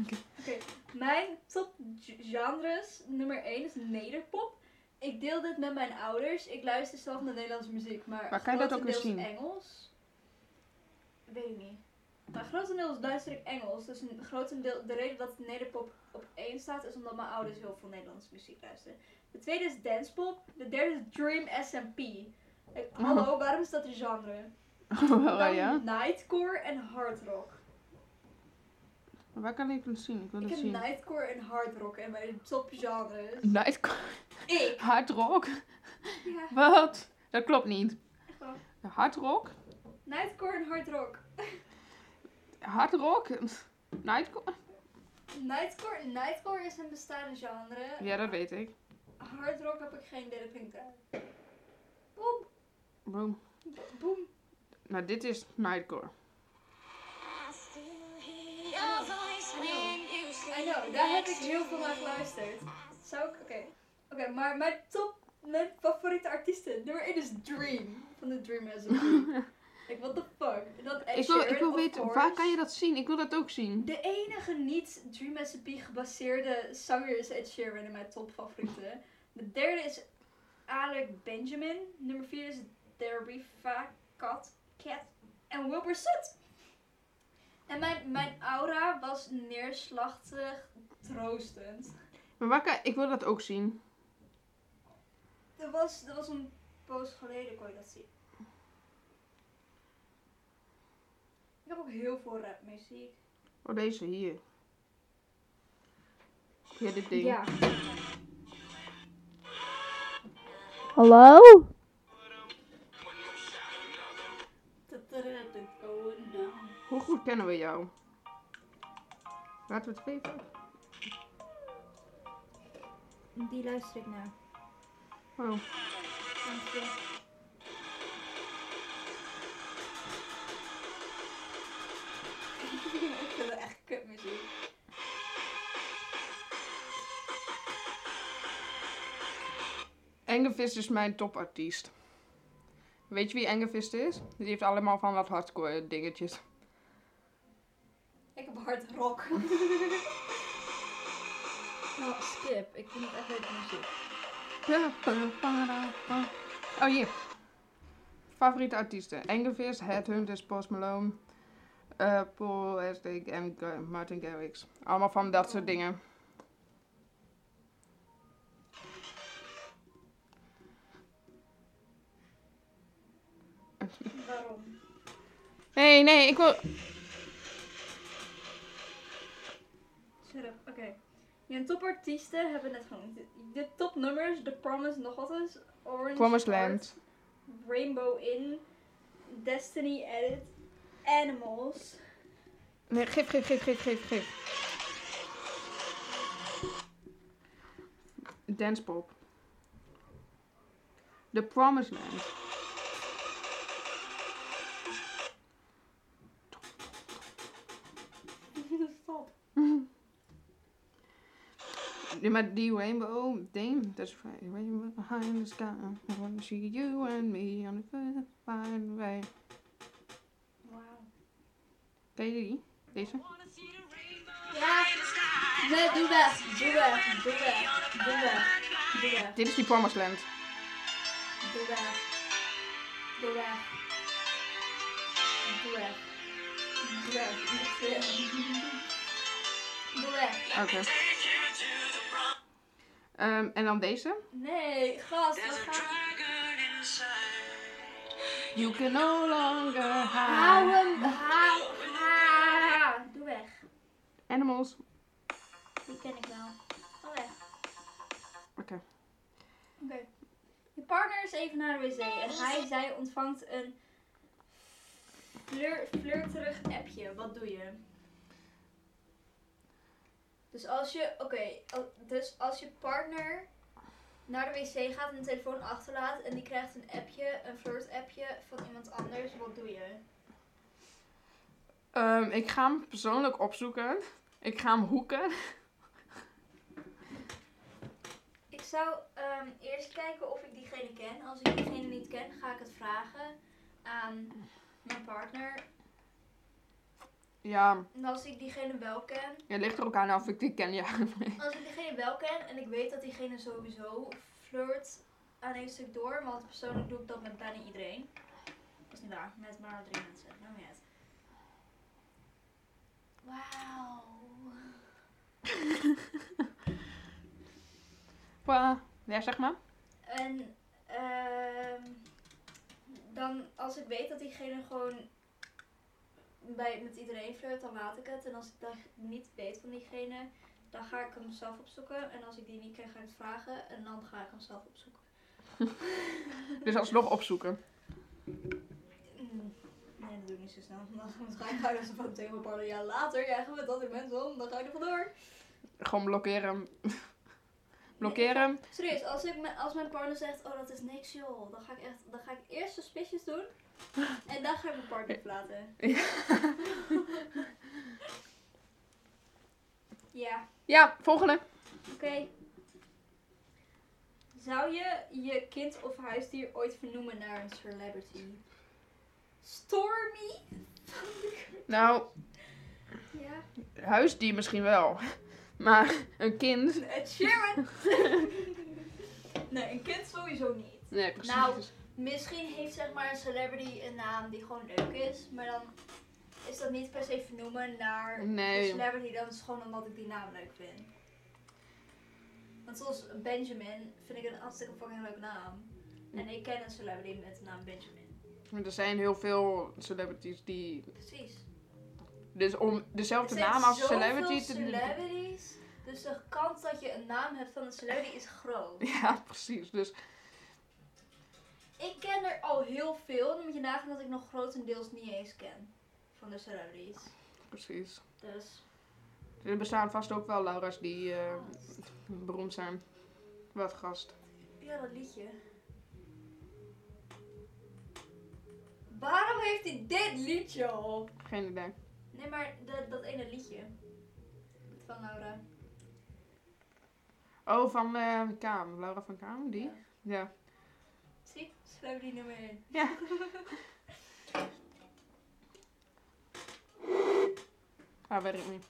Speaker 1: Oké, mijn top g- genres nummer 1 is nederpop. Ik deel dit met mijn ouders. Ik luister zelf naar Nederlandse muziek, maar,
Speaker 2: Waar kan je dat ook weer
Speaker 1: grotendeels
Speaker 2: zien?
Speaker 1: Engels. Weet ik niet. Maar grotendeels luister ik Engels. Dus een grotendeel, de reden dat nederpop op 1 staat is omdat mijn ouders heel veel Nederlandse muziek luisteren. De tweede is dancepop. De derde is dream S&P. Like, hallo, waarom is dat een genre?
Speaker 2: Oh,
Speaker 1: Dan
Speaker 2: ja?
Speaker 1: nightcore en hardrock.
Speaker 2: Waar kan ik het zien? Ik wil
Speaker 1: Ik
Speaker 2: het
Speaker 1: heb
Speaker 2: zien.
Speaker 1: nightcore en hardrock en mijn topgenres.
Speaker 2: Nightcore.
Speaker 1: Ik.
Speaker 2: Hard rock?
Speaker 1: Ja,
Speaker 2: Wat? Dat klopt niet.
Speaker 1: echt wel.
Speaker 2: Hard rock?
Speaker 1: Nightcore en hardrock.
Speaker 2: Hard rock? Nightcore?
Speaker 1: Nightcore, nightcore is een bestaande genre.
Speaker 2: Ja, dat weet ik.
Speaker 1: Hardrock heb ik geen idee, dat klinkt raar. Boom,
Speaker 2: Boom.
Speaker 1: bo- boom.
Speaker 2: Nou, dit is
Speaker 1: [LAUGHS]
Speaker 2: Nightcore.
Speaker 1: I know, daar heb ik heel veel naar geluisterd. Zou ik, oké. Oké, maar
Speaker 2: [LAUGHS]
Speaker 1: mijn top, mijn favoriete artiesten. Nummer 1 is Dream, van de Dream SMB. Like, what the fuck? Dat Ed
Speaker 2: Ik wil, ik
Speaker 1: Sheeran,
Speaker 2: wil
Speaker 1: of
Speaker 2: weten,
Speaker 1: course.
Speaker 2: waar kan je dat zien? Ik wil dat ook zien.
Speaker 1: De enige niet Dream S&P gebaseerde zanger is Ed Sheeran in mijn topfavorieten. De derde is Alec Benjamin. Nummer vier is Deriva Cat. Cat. En Wilbur Soot. En mijn, mijn aura was neerslachtig, troostend.
Speaker 2: Maar waar kan, ik wil dat ook zien.
Speaker 1: Dat was, dat was een poos geleden, kon je dat zien. Ik heb ook heel veel rapmuziek.
Speaker 2: Oh, deze hier. Ja, dit ding.
Speaker 1: Ja.
Speaker 4: Hallo?
Speaker 1: eh, Oh no.
Speaker 2: Hoe goed kennen we jou? Laten we het weten.
Speaker 1: Die luister ik naar.
Speaker 2: Oh.
Speaker 1: [LAUGHS] ik vind het echt kut muziek.
Speaker 2: Engevist is mijn topartiest. Weet je wie Engevist is? Die heeft allemaal van wat hardcore dingetjes.
Speaker 1: Ik heb hard rock. [LAUGHS] nou, skip. Ik vind het echt leuke muziek.
Speaker 2: Oh hier. Favoriete artiesten. Engevist, Headhunters, Post Malone, eh, Paul Hestig en Ga- Martin Garrix. Allemaal van dat soort dingen.
Speaker 1: Waarom?
Speaker 2: Nee, nee, ik wil...
Speaker 1: Shut up. Oké. Je topartiesten hebben net genoemd. De topnummers, The Promise, nog wat eens. Orange
Speaker 2: Promised
Speaker 1: Heart,
Speaker 2: Land.
Speaker 1: Rainbow In, Destiny Edit, Animals. [LAUGHS]
Speaker 2: Nee, geef, geef, geef, geef, geef, geef. Dancepop. The Promised Land.
Speaker 1: Stop.
Speaker 2: Ja, maar die rainbow ding, dat is fijn. rainbow behind the sky. I wanna see you and me on the first fine way.
Speaker 1: Wauw.
Speaker 2: Ken je die? Deze?
Speaker 1: Ja. Nee, doe weg. Doe weg. Doe weg. Doe weg. Doe weg.
Speaker 2: Dit is die Promised Land.
Speaker 1: Doe weg. Doe weg. Doe weg. Doe weg. Doe weg. Doe weg.
Speaker 2: Oké. Ehm, en dan deze.
Speaker 1: Nee, gast, we gaan...
Speaker 2: You can no longer
Speaker 1: Hou
Speaker 2: hide.
Speaker 1: hem, hou, ha. Doe weg.
Speaker 2: Animals.
Speaker 1: Die ken ik wel. Ga weg.
Speaker 2: Oké.
Speaker 1: Oké. Je partner is even naar de wc en hij, zij ontvangt een fleur, flirterig appje. Wat doe je? Dus als je, oké, al- dus als je partner naar de wc gaat en de telefoon achterlaat en die krijgt een appje, een flirt appje van iemand anders, wat doe je?
Speaker 2: Ehm, ik ga hem persoonlijk opzoeken. Ik ga hem hoeken.
Speaker 1: Ik zou ehm, eerst kijken of ik diegene ken. Als ik diegene niet ken, ga ik het vragen aan mijn partner.
Speaker 2: Ja,
Speaker 1: En als ik diegene wel ken,
Speaker 2: het ligt er ook aan of ik die ken. Ja. [LAUGHS]
Speaker 1: Als ik diegene wel ken en ik weet dat diegene sowieso flirt aan één stuk door, want persoonlijk doe ik dat met bijna iedereen. Dat is niet waar, met maar drie mensen. Nou niet uit. Wauw.
Speaker 2: Qua- Ja, zeg maar.
Speaker 1: En ehm, dan als ik weet dat diegene gewoon bij, met iedereen flirt, dan laat ik het. En als ik dat niet weet van diegene, dan ga ik hem zelf opzoeken. En als ik die niet ken, ga ik het vragen. En dan ga ik hem zelf opzoeken.
Speaker 2: Dus alsnog opzoeken.
Speaker 1: Mm, Nee, dat doe ik niet zo snel. [LAUGHS] Dan ga ik huilen van tegen mijn partner. Ja, later krijgen we dat in mensen om. Dan ga ik er vandoor.
Speaker 2: Gewoon blokkeren.
Speaker 1: Nee,
Speaker 2: blokkeren.
Speaker 1: ik ga- serieus, als, ik me, als mijn partner zegt, oh dat is niks joh. Dan ga ik, echt, dan ga ik eerst suspicious doen. En dan ga ik mijn partner verlaten. ja,
Speaker 2: Ja, volgende.
Speaker 1: oké. Zou je je kind of huisdier ooit vernoemen naar een celebrity? Stormy?
Speaker 2: Nou,
Speaker 1: Ja.
Speaker 2: huisdier misschien wel. Maar een kind.
Speaker 1: Ed [LAUGHS] Sheeran? nee, een kind sowieso niet.
Speaker 2: Nee, precies.
Speaker 1: Nou. Misschien heeft zeg maar een celebrity een naam die gewoon leuk is, maar dan is dat niet per se vernoemen naar de
Speaker 2: Nee.
Speaker 1: celebrity, dan is het gewoon omdat ik die naam leuk vind. Want zoals Benjamin vind ik een hartstikke fucking leuke naam. En ik ken een celebrity met de naam Benjamin.
Speaker 2: Er zijn heel veel celebrities die.
Speaker 1: Precies.
Speaker 2: Dus om
Speaker 1: Er
Speaker 2: dezelfde
Speaker 1: zijn
Speaker 2: naam als
Speaker 1: zoveel
Speaker 2: celebrity te.
Speaker 1: celebrities, dus de kans dat je een naam hebt van een celebrity is groot.
Speaker 2: [LAUGHS] Ja, precies. Dus
Speaker 1: Ik ken er al heel veel, dan moet je nagaan dat ik nog grotendeels niet eens ken van de celebrities.
Speaker 2: precies.
Speaker 1: Dus,
Speaker 2: Er bestaan vast ook wel Laura's die eh, beroemd zijn. Wat gast.
Speaker 1: ja, dat liedje. Waarom heeft hij dit liedje op?
Speaker 2: Geen idee.
Speaker 1: Nee, maar dat- dat ene liedje. Van Laura.
Speaker 2: Oh, van eh Kaam. Laura van Kaam, die?
Speaker 1: Ja.
Speaker 2: Ja.
Speaker 1: Zie, celebrity nummer 1. [LAUGHS]
Speaker 2: Ja. Ah, weet ik niet.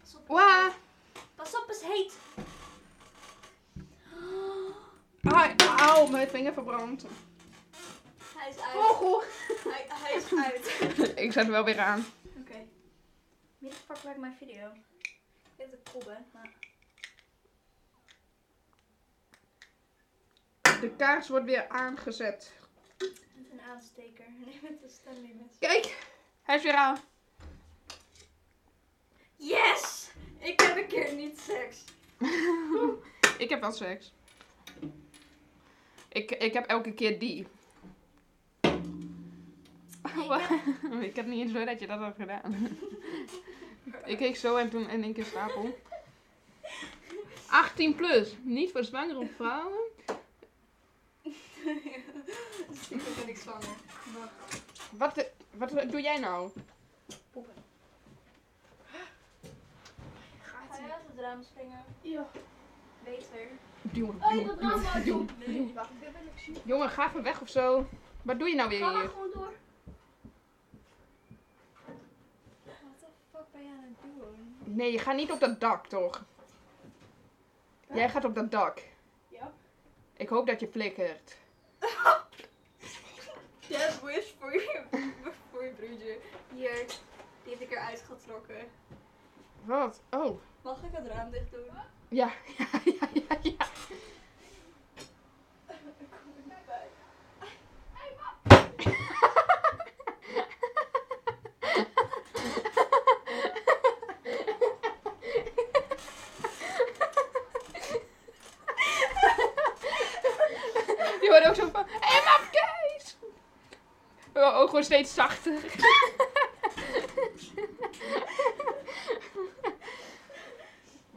Speaker 1: Pas op,
Speaker 2: Wa!
Speaker 1: pas op, is heet.
Speaker 2: Ah, auw, mijn vinger verbrand.
Speaker 1: Hij is uit.
Speaker 2: Oh, goh.
Speaker 1: Hij, hij is uit.
Speaker 2: Ik zet hem wel weer aan.
Speaker 1: [LAUGHS] Oké. Wie de fuck lijkt mijn video? Ik weet dat ik cool ben, maar...
Speaker 2: De kaars wordt weer aangezet.
Speaker 1: Met een aansteker. [LAUGHS] Nee, met een stemlimit.
Speaker 2: Kijk, hij is weer aan.
Speaker 1: Yes! Ik heb een keer niet seks.
Speaker 2: Ik heb wel seks. Ik, ik heb elke keer die. [LAUGHS] ik heb niet eens door dat je dat had gedaan. ik keek zo en toen in één keer stapel. 18 plus, niet voor zwangere
Speaker 1: [LAUGHS]
Speaker 2: vrouwen.
Speaker 1: Ik ben ik zwanger. Maar
Speaker 2: Wat, de- wat doe jij nou?
Speaker 1: poepen. Ga je uit het raam springen?
Speaker 5: Ja.
Speaker 1: Beter.
Speaker 2: Jongen,
Speaker 5: Oh, je
Speaker 2: jongen,
Speaker 5: dat raam uit, joh.
Speaker 1: [LAUGHS] Nee.
Speaker 5: Wacht, dit ben ik ziek.
Speaker 2: jongen, ga even weg of zo. Wat doe je nou weer
Speaker 5: Ga maar
Speaker 2: hier?
Speaker 5: gewoon door.
Speaker 1: Wat de fuck ben je aan het doen?
Speaker 2: Nee, je gaat niet op dat dak toch? Jij gaat op dat dak.
Speaker 5: Ja.
Speaker 2: Ik hoop dat je flikkert.
Speaker 1: Yes, [LAUGHS] wish voor je, voor je broertje. Hier, die heb ik eruit getrokken.
Speaker 2: Wat? Oh.
Speaker 1: Mag ik het raam dicht doen?
Speaker 2: Ja, [LAUGHS] ja, ja, ja, ja.
Speaker 1: Ik kom er niet bij.
Speaker 2: Je wordt ook zo van, hé hey, mam, Kees! Oh, ook gewoon steeds zachter.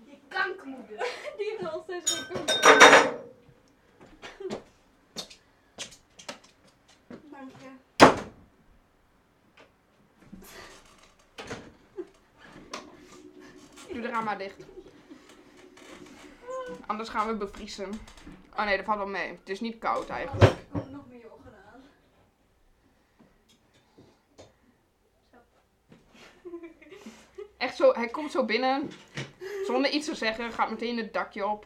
Speaker 5: Je kankermoeder.
Speaker 1: Die heeft nog steeds geen kanker. Dank je.
Speaker 2: Doe de raam maar dicht. Anders gaan we bevriezen. Oh nee, dat valt wel mee. Het is niet koud eigenlijk.
Speaker 1: Ik kom nog meer ogen aan.
Speaker 2: Echt zo, hij komt zo binnen. Zonder iets te zeggen, gaat meteen het dakje op.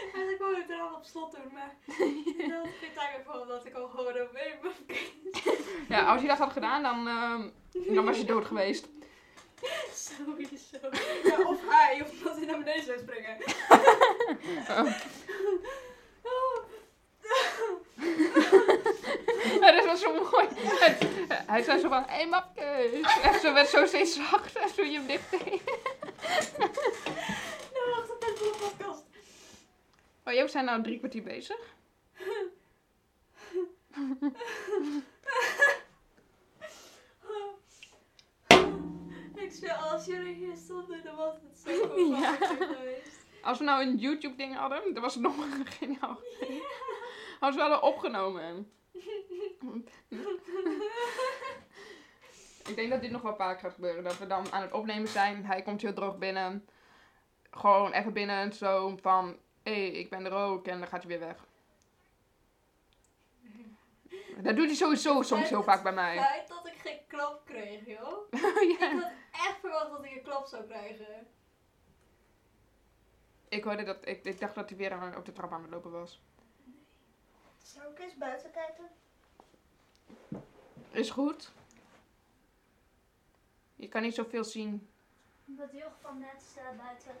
Speaker 1: Eigenlijk wou ik het raam op slot doen, maar [LAUGHS] dat had ik geen tijd meer voor omdat ik al gewoon een baby heb
Speaker 2: Ja, als je dat had gedaan, dan, ehm, dan was je dood geweest.
Speaker 1: Sowieso. Ja, of hij, of dat hij naar beneden zou springen. [LAUGHS] Oh.
Speaker 2: Ja, dat was zo mooi. En hij zei zo van, hé hey, mapke. En ze werd zo steeds zachter toen je hem dicht deed.
Speaker 1: Nou, wacht, dat is een podcast.
Speaker 2: Oh, Joost zijn nou drie kwartier bezig.
Speaker 1: Ah. Ik zweer, als jullie hier stonden, dan was het
Speaker 2: [LAUGHS]
Speaker 1: zo goed
Speaker 2: Ja.
Speaker 1: geweest.
Speaker 2: Als we nou een YouTube ding hadden, dan was het nog geniaal. Hadden ze wel al opgenomen. Ik denk dat dit nog wel vaak gaat gebeuren. Dat we dan aan het opnemen zijn. Hij komt heel droog binnen. Gewoon even binnen. Zo van, hé, hey, ik ben er ook. En dan gaat hij weer weg. Dat doet hij sowieso soms heel vaak bij mij.
Speaker 1: Feit dat ik geen klap kreeg,
Speaker 2: [LAUGHS]
Speaker 1: joh. Ik
Speaker 2: Oh, Ja.
Speaker 1: had echt verwacht dat ik een klap zou krijgen.
Speaker 2: Ik hoorde dat, ik, ik dacht dat hij weer aan- op de trap aan het lopen was.
Speaker 6: Zou ik eens buiten kijken?
Speaker 2: Is goed. Je kan niet zoveel zien.
Speaker 7: Wat heel van net staat buiten.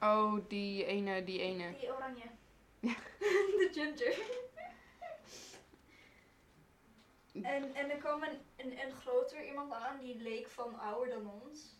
Speaker 2: Oh, die ene, die ene.
Speaker 7: Die oranje.
Speaker 1: [LAUGHS] De ginger. En, en er kwam een, een, een groter iemand aan die leek van ouder dan ons.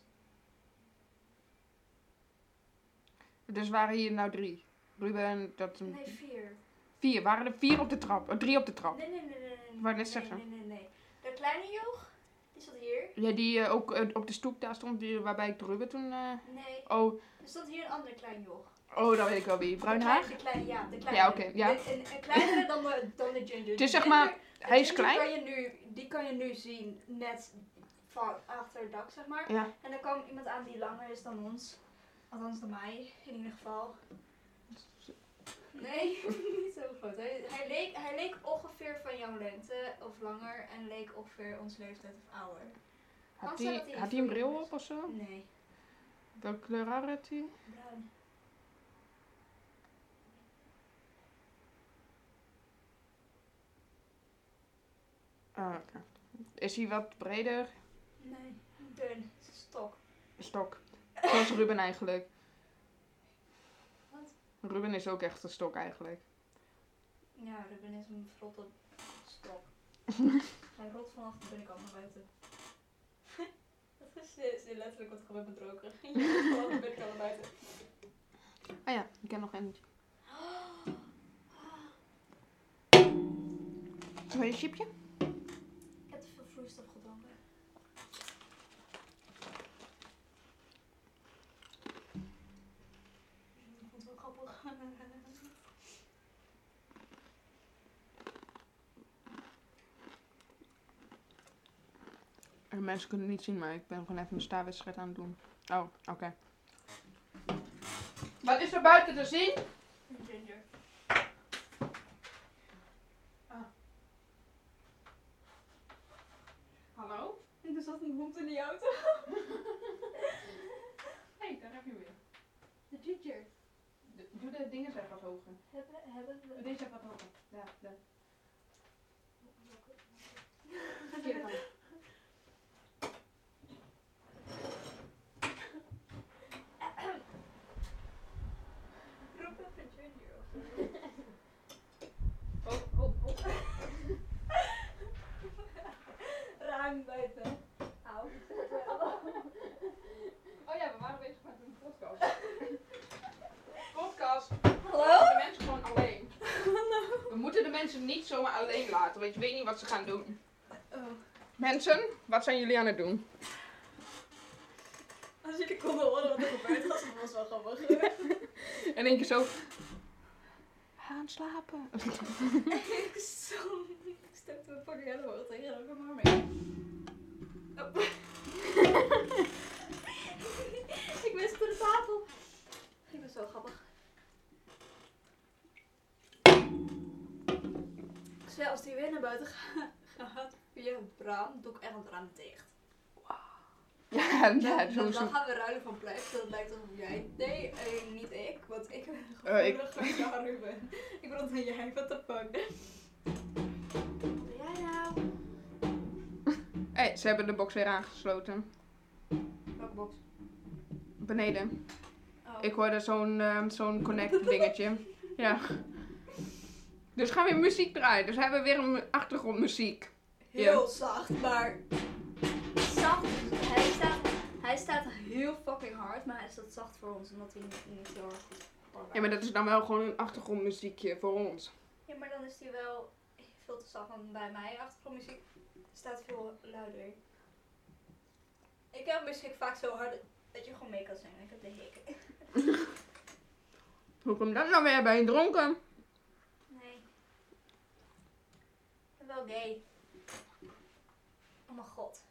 Speaker 2: Dus waren hier nou drie? Ruben, dat...
Speaker 1: Nee, vier.
Speaker 2: Vier. Waren er vier op de trap? Oh, drie op de trap.
Speaker 1: Nee, nee, nee, nee. nee.
Speaker 2: Wou net
Speaker 1: nee,
Speaker 2: zeggen.
Speaker 1: Nee, nee, nee. De kleine joch, die zat hier.
Speaker 2: Ja, die eh, ook eh, op de stoep daar stond, die, waarbij ik de Ruben toen... eh,
Speaker 1: Nee,
Speaker 2: Oh,
Speaker 1: er stond hier een andere klein joch.
Speaker 2: oh, dat weet ik wel wie. Bruin
Speaker 1: De
Speaker 2: haar?
Speaker 1: kleine- De kleine, ja, de kleine.
Speaker 2: Ja, oké, ja.
Speaker 1: Een, een, een kleinere dan de, dan de ginger.
Speaker 2: Het is zeg
Speaker 1: De
Speaker 2: maar...
Speaker 1: ginger- de
Speaker 2: Hij is
Speaker 1: ginger
Speaker 2: klein.
Speaker 1: Kan je nu, die kan je nu zien net van achter het dak, zeg maar.
Speaker 2: Ja.
Speaker 1: En er kwam iemand aan die langer is dan ons. Althans dan mij, in ieder geval. Nee, [LAUGHS] niet zo groot. Hij, hij, leek, hij leek ongeveer van jouw lengte of langer en leek ongeveer ons leeftijd of ouder.
Speaker 2: Had
Speaker 1: Kan zijn dat
Speaker 2: hij
Speaker 1: hij
Speaker 2: had die een
Speaker 1: voor
Speaker 2: bril
Speaker 1: is.
Speaker 2: op of zo?
Speaker 1: Nee,
Speaker 2: Welke kleur haar had hij?
Speaker 1: bruin.
Speaker 2: Ah, oké. Is hij wat breder?
Speaker 1: Nee, dun. Stok.
Speaker 2: Stok. Zoals Ruben eigenlijk.
Speaker 1: Wat?
Speaker 2: Ruben is ook echt een stok eigenlijk.
Speaker 1: Ja, Ruben is een verrotte stok. [LAUGHS] Hij rolt vanaf de binnenkant naar buiten. [LAUGHS] Dat is, is letterlijk wat ik heb bedroken. [LAUGHS] Ja, vanaf de binnenkant naar buiten.
Speaker 2: Ah ja, ik ken nog eentje. Tweede chipje?
Speaker 1: [GASPS] Ik heb te veel vloeistof gedronken. Ik vond het wel grappig.
Speaker 2: Eh, Mensen kunnen het niet zien, maar ik ben gewoon even een staarwedstrijd aan het doen. Oh, oké. Wat is er buiten te zien?
Speaker 1: Een [LAUGHS] Ginger.
Speaker 8: Hallo?
Speaker 1: En er zat een hond in die auto.
Speaker 8: Hey, daar heb je weer.
Speaker 1: De ginger.
Speaker 8: D- Doe de dingen zijn wat hoger.
Speaker 1: Hebben, hebben
Speaker 8: Doe
Speaker 1: we...
Speaker 8: Oh, Deze zijn wat hoger. Ja, daar. Verkeerde kant.
Speaker 1: Roep even ginger op.
Speaker 8: Oh, oh, oh.
Speaker 1: Ruim buiten. Au.
Speaker 8: Oh ja, we waren bezig met een podcast. [LAUGHS] podcast.
Speaker 1: Hallo?
Speaker 8: De mensen gewoon alleen. We moeten de mensen niet zomaar alleen laten, want je weet niet wat ze gaan doen.
Speaker 1: Oh.
Speaker 2: Mensen, wat zijn jullie aan het doen?
Speaker 1: Als jullie konden horen wat er gebeurd was, dat was wel grappig.
Speaker 2: En één keer zo... Gaan slapen.
Speaker 1: ik zo... [LAUGHS] Ik stemde mijn fucking hele hoor tegen elkaar maar mee. Oh. [LAUGHS] ik miste de tafel. Ik ben zo grappig. Zo, als die weer naar buiten [LAUGHS] ga- gaat via het raam, doe ik echt het raam dicht.
Speaker 2: Ja, [LAUGHS] ja,
Speaker 1: Dan-
Speaker 2: zo
Speaker 1: dan,
Speaker 2: is het.
Speaker 1: gaan we ruilen van plek, zodat het lijkt alsof jij... Nee, eh, niet ik, want ik ben
Speaker 2: Eh, ik-
Speaker 1: gevoeliger dan Ruben. Ik bedoel dan jij, what the fuck. Wat doe jij nou?
Speaker 2: Hey, ze hebben de box weer aangesloten.
Speaker 1: Welke box?
Speaker 2: Beneden.
Speaker 1: Oh.
Speaker 2: Ik hoorde zo'n ehm, zo'n
Speaker 1: [LAUGHS]
Speaker 2: connect dingetje. Ja. Dus gaan we weer muziek draaien. Dus hebben we weer een mu- achtergrondmuziek.
Speaker 1: Heel zacht, maar... Zacht. Hij staat, hij staat heel fucking hard, maar hij staat zacht voor ons, omdat hij niet, niet heel hard is.
Speaker 2: Ja, maar dat is dan wel gewoon een achtergrondmuziekje voor ons.
Speaker 1: Ja, maar dan is hij wel veel te zacht. Want bij mij achtergrondmuziek staat veel luider. Ik heb muziek vaak zo hard dat je gewoon mee kan zingen. Ik heb de hik.
Speaker 2: Hoe komt dat nou weer bij een dronken?
Speaker 1: Nee. Ik ben wel gay. Oh mijn god.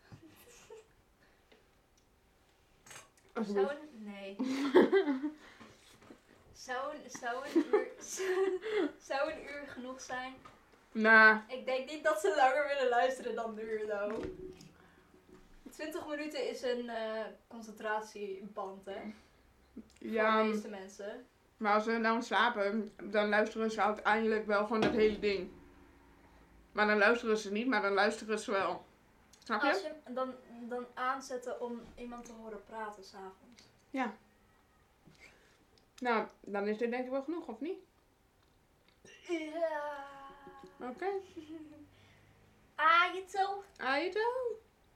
Speaker 2: Oh, [LAUGHS]
Speaker 1: Zo'n... Nee. [LAUGHS] Zou een, zou, een uur, zou een uur genoeg zijn
Speaker 2: Nou,
Speaker 1: Ik denk niet dat ze langer willen luisteren dan nu, though. 20 minuten is een eh, concentratieband, hè?
Speaker 2: ja,
Speaker 1: Voor de meeste mensen.
Speaker 2: maar als we dan slapen, dan luisteren ze uiteindelijk wel gewoon dat hele ding. Maar dan luisteren ze niet, maar dan luisteren ze wel. Snap je?
Speaker 1: Als je hem dan, dan aanzetten om iemand te horen praten s'avonds.
Speaker 2: Nou, dan is dit denk ik wel genoeg, of niet?
Speaker 1: Ja.
Speaker 2: Oké.
Speaker 9: Ah, je zo.
Speaker 2: I do.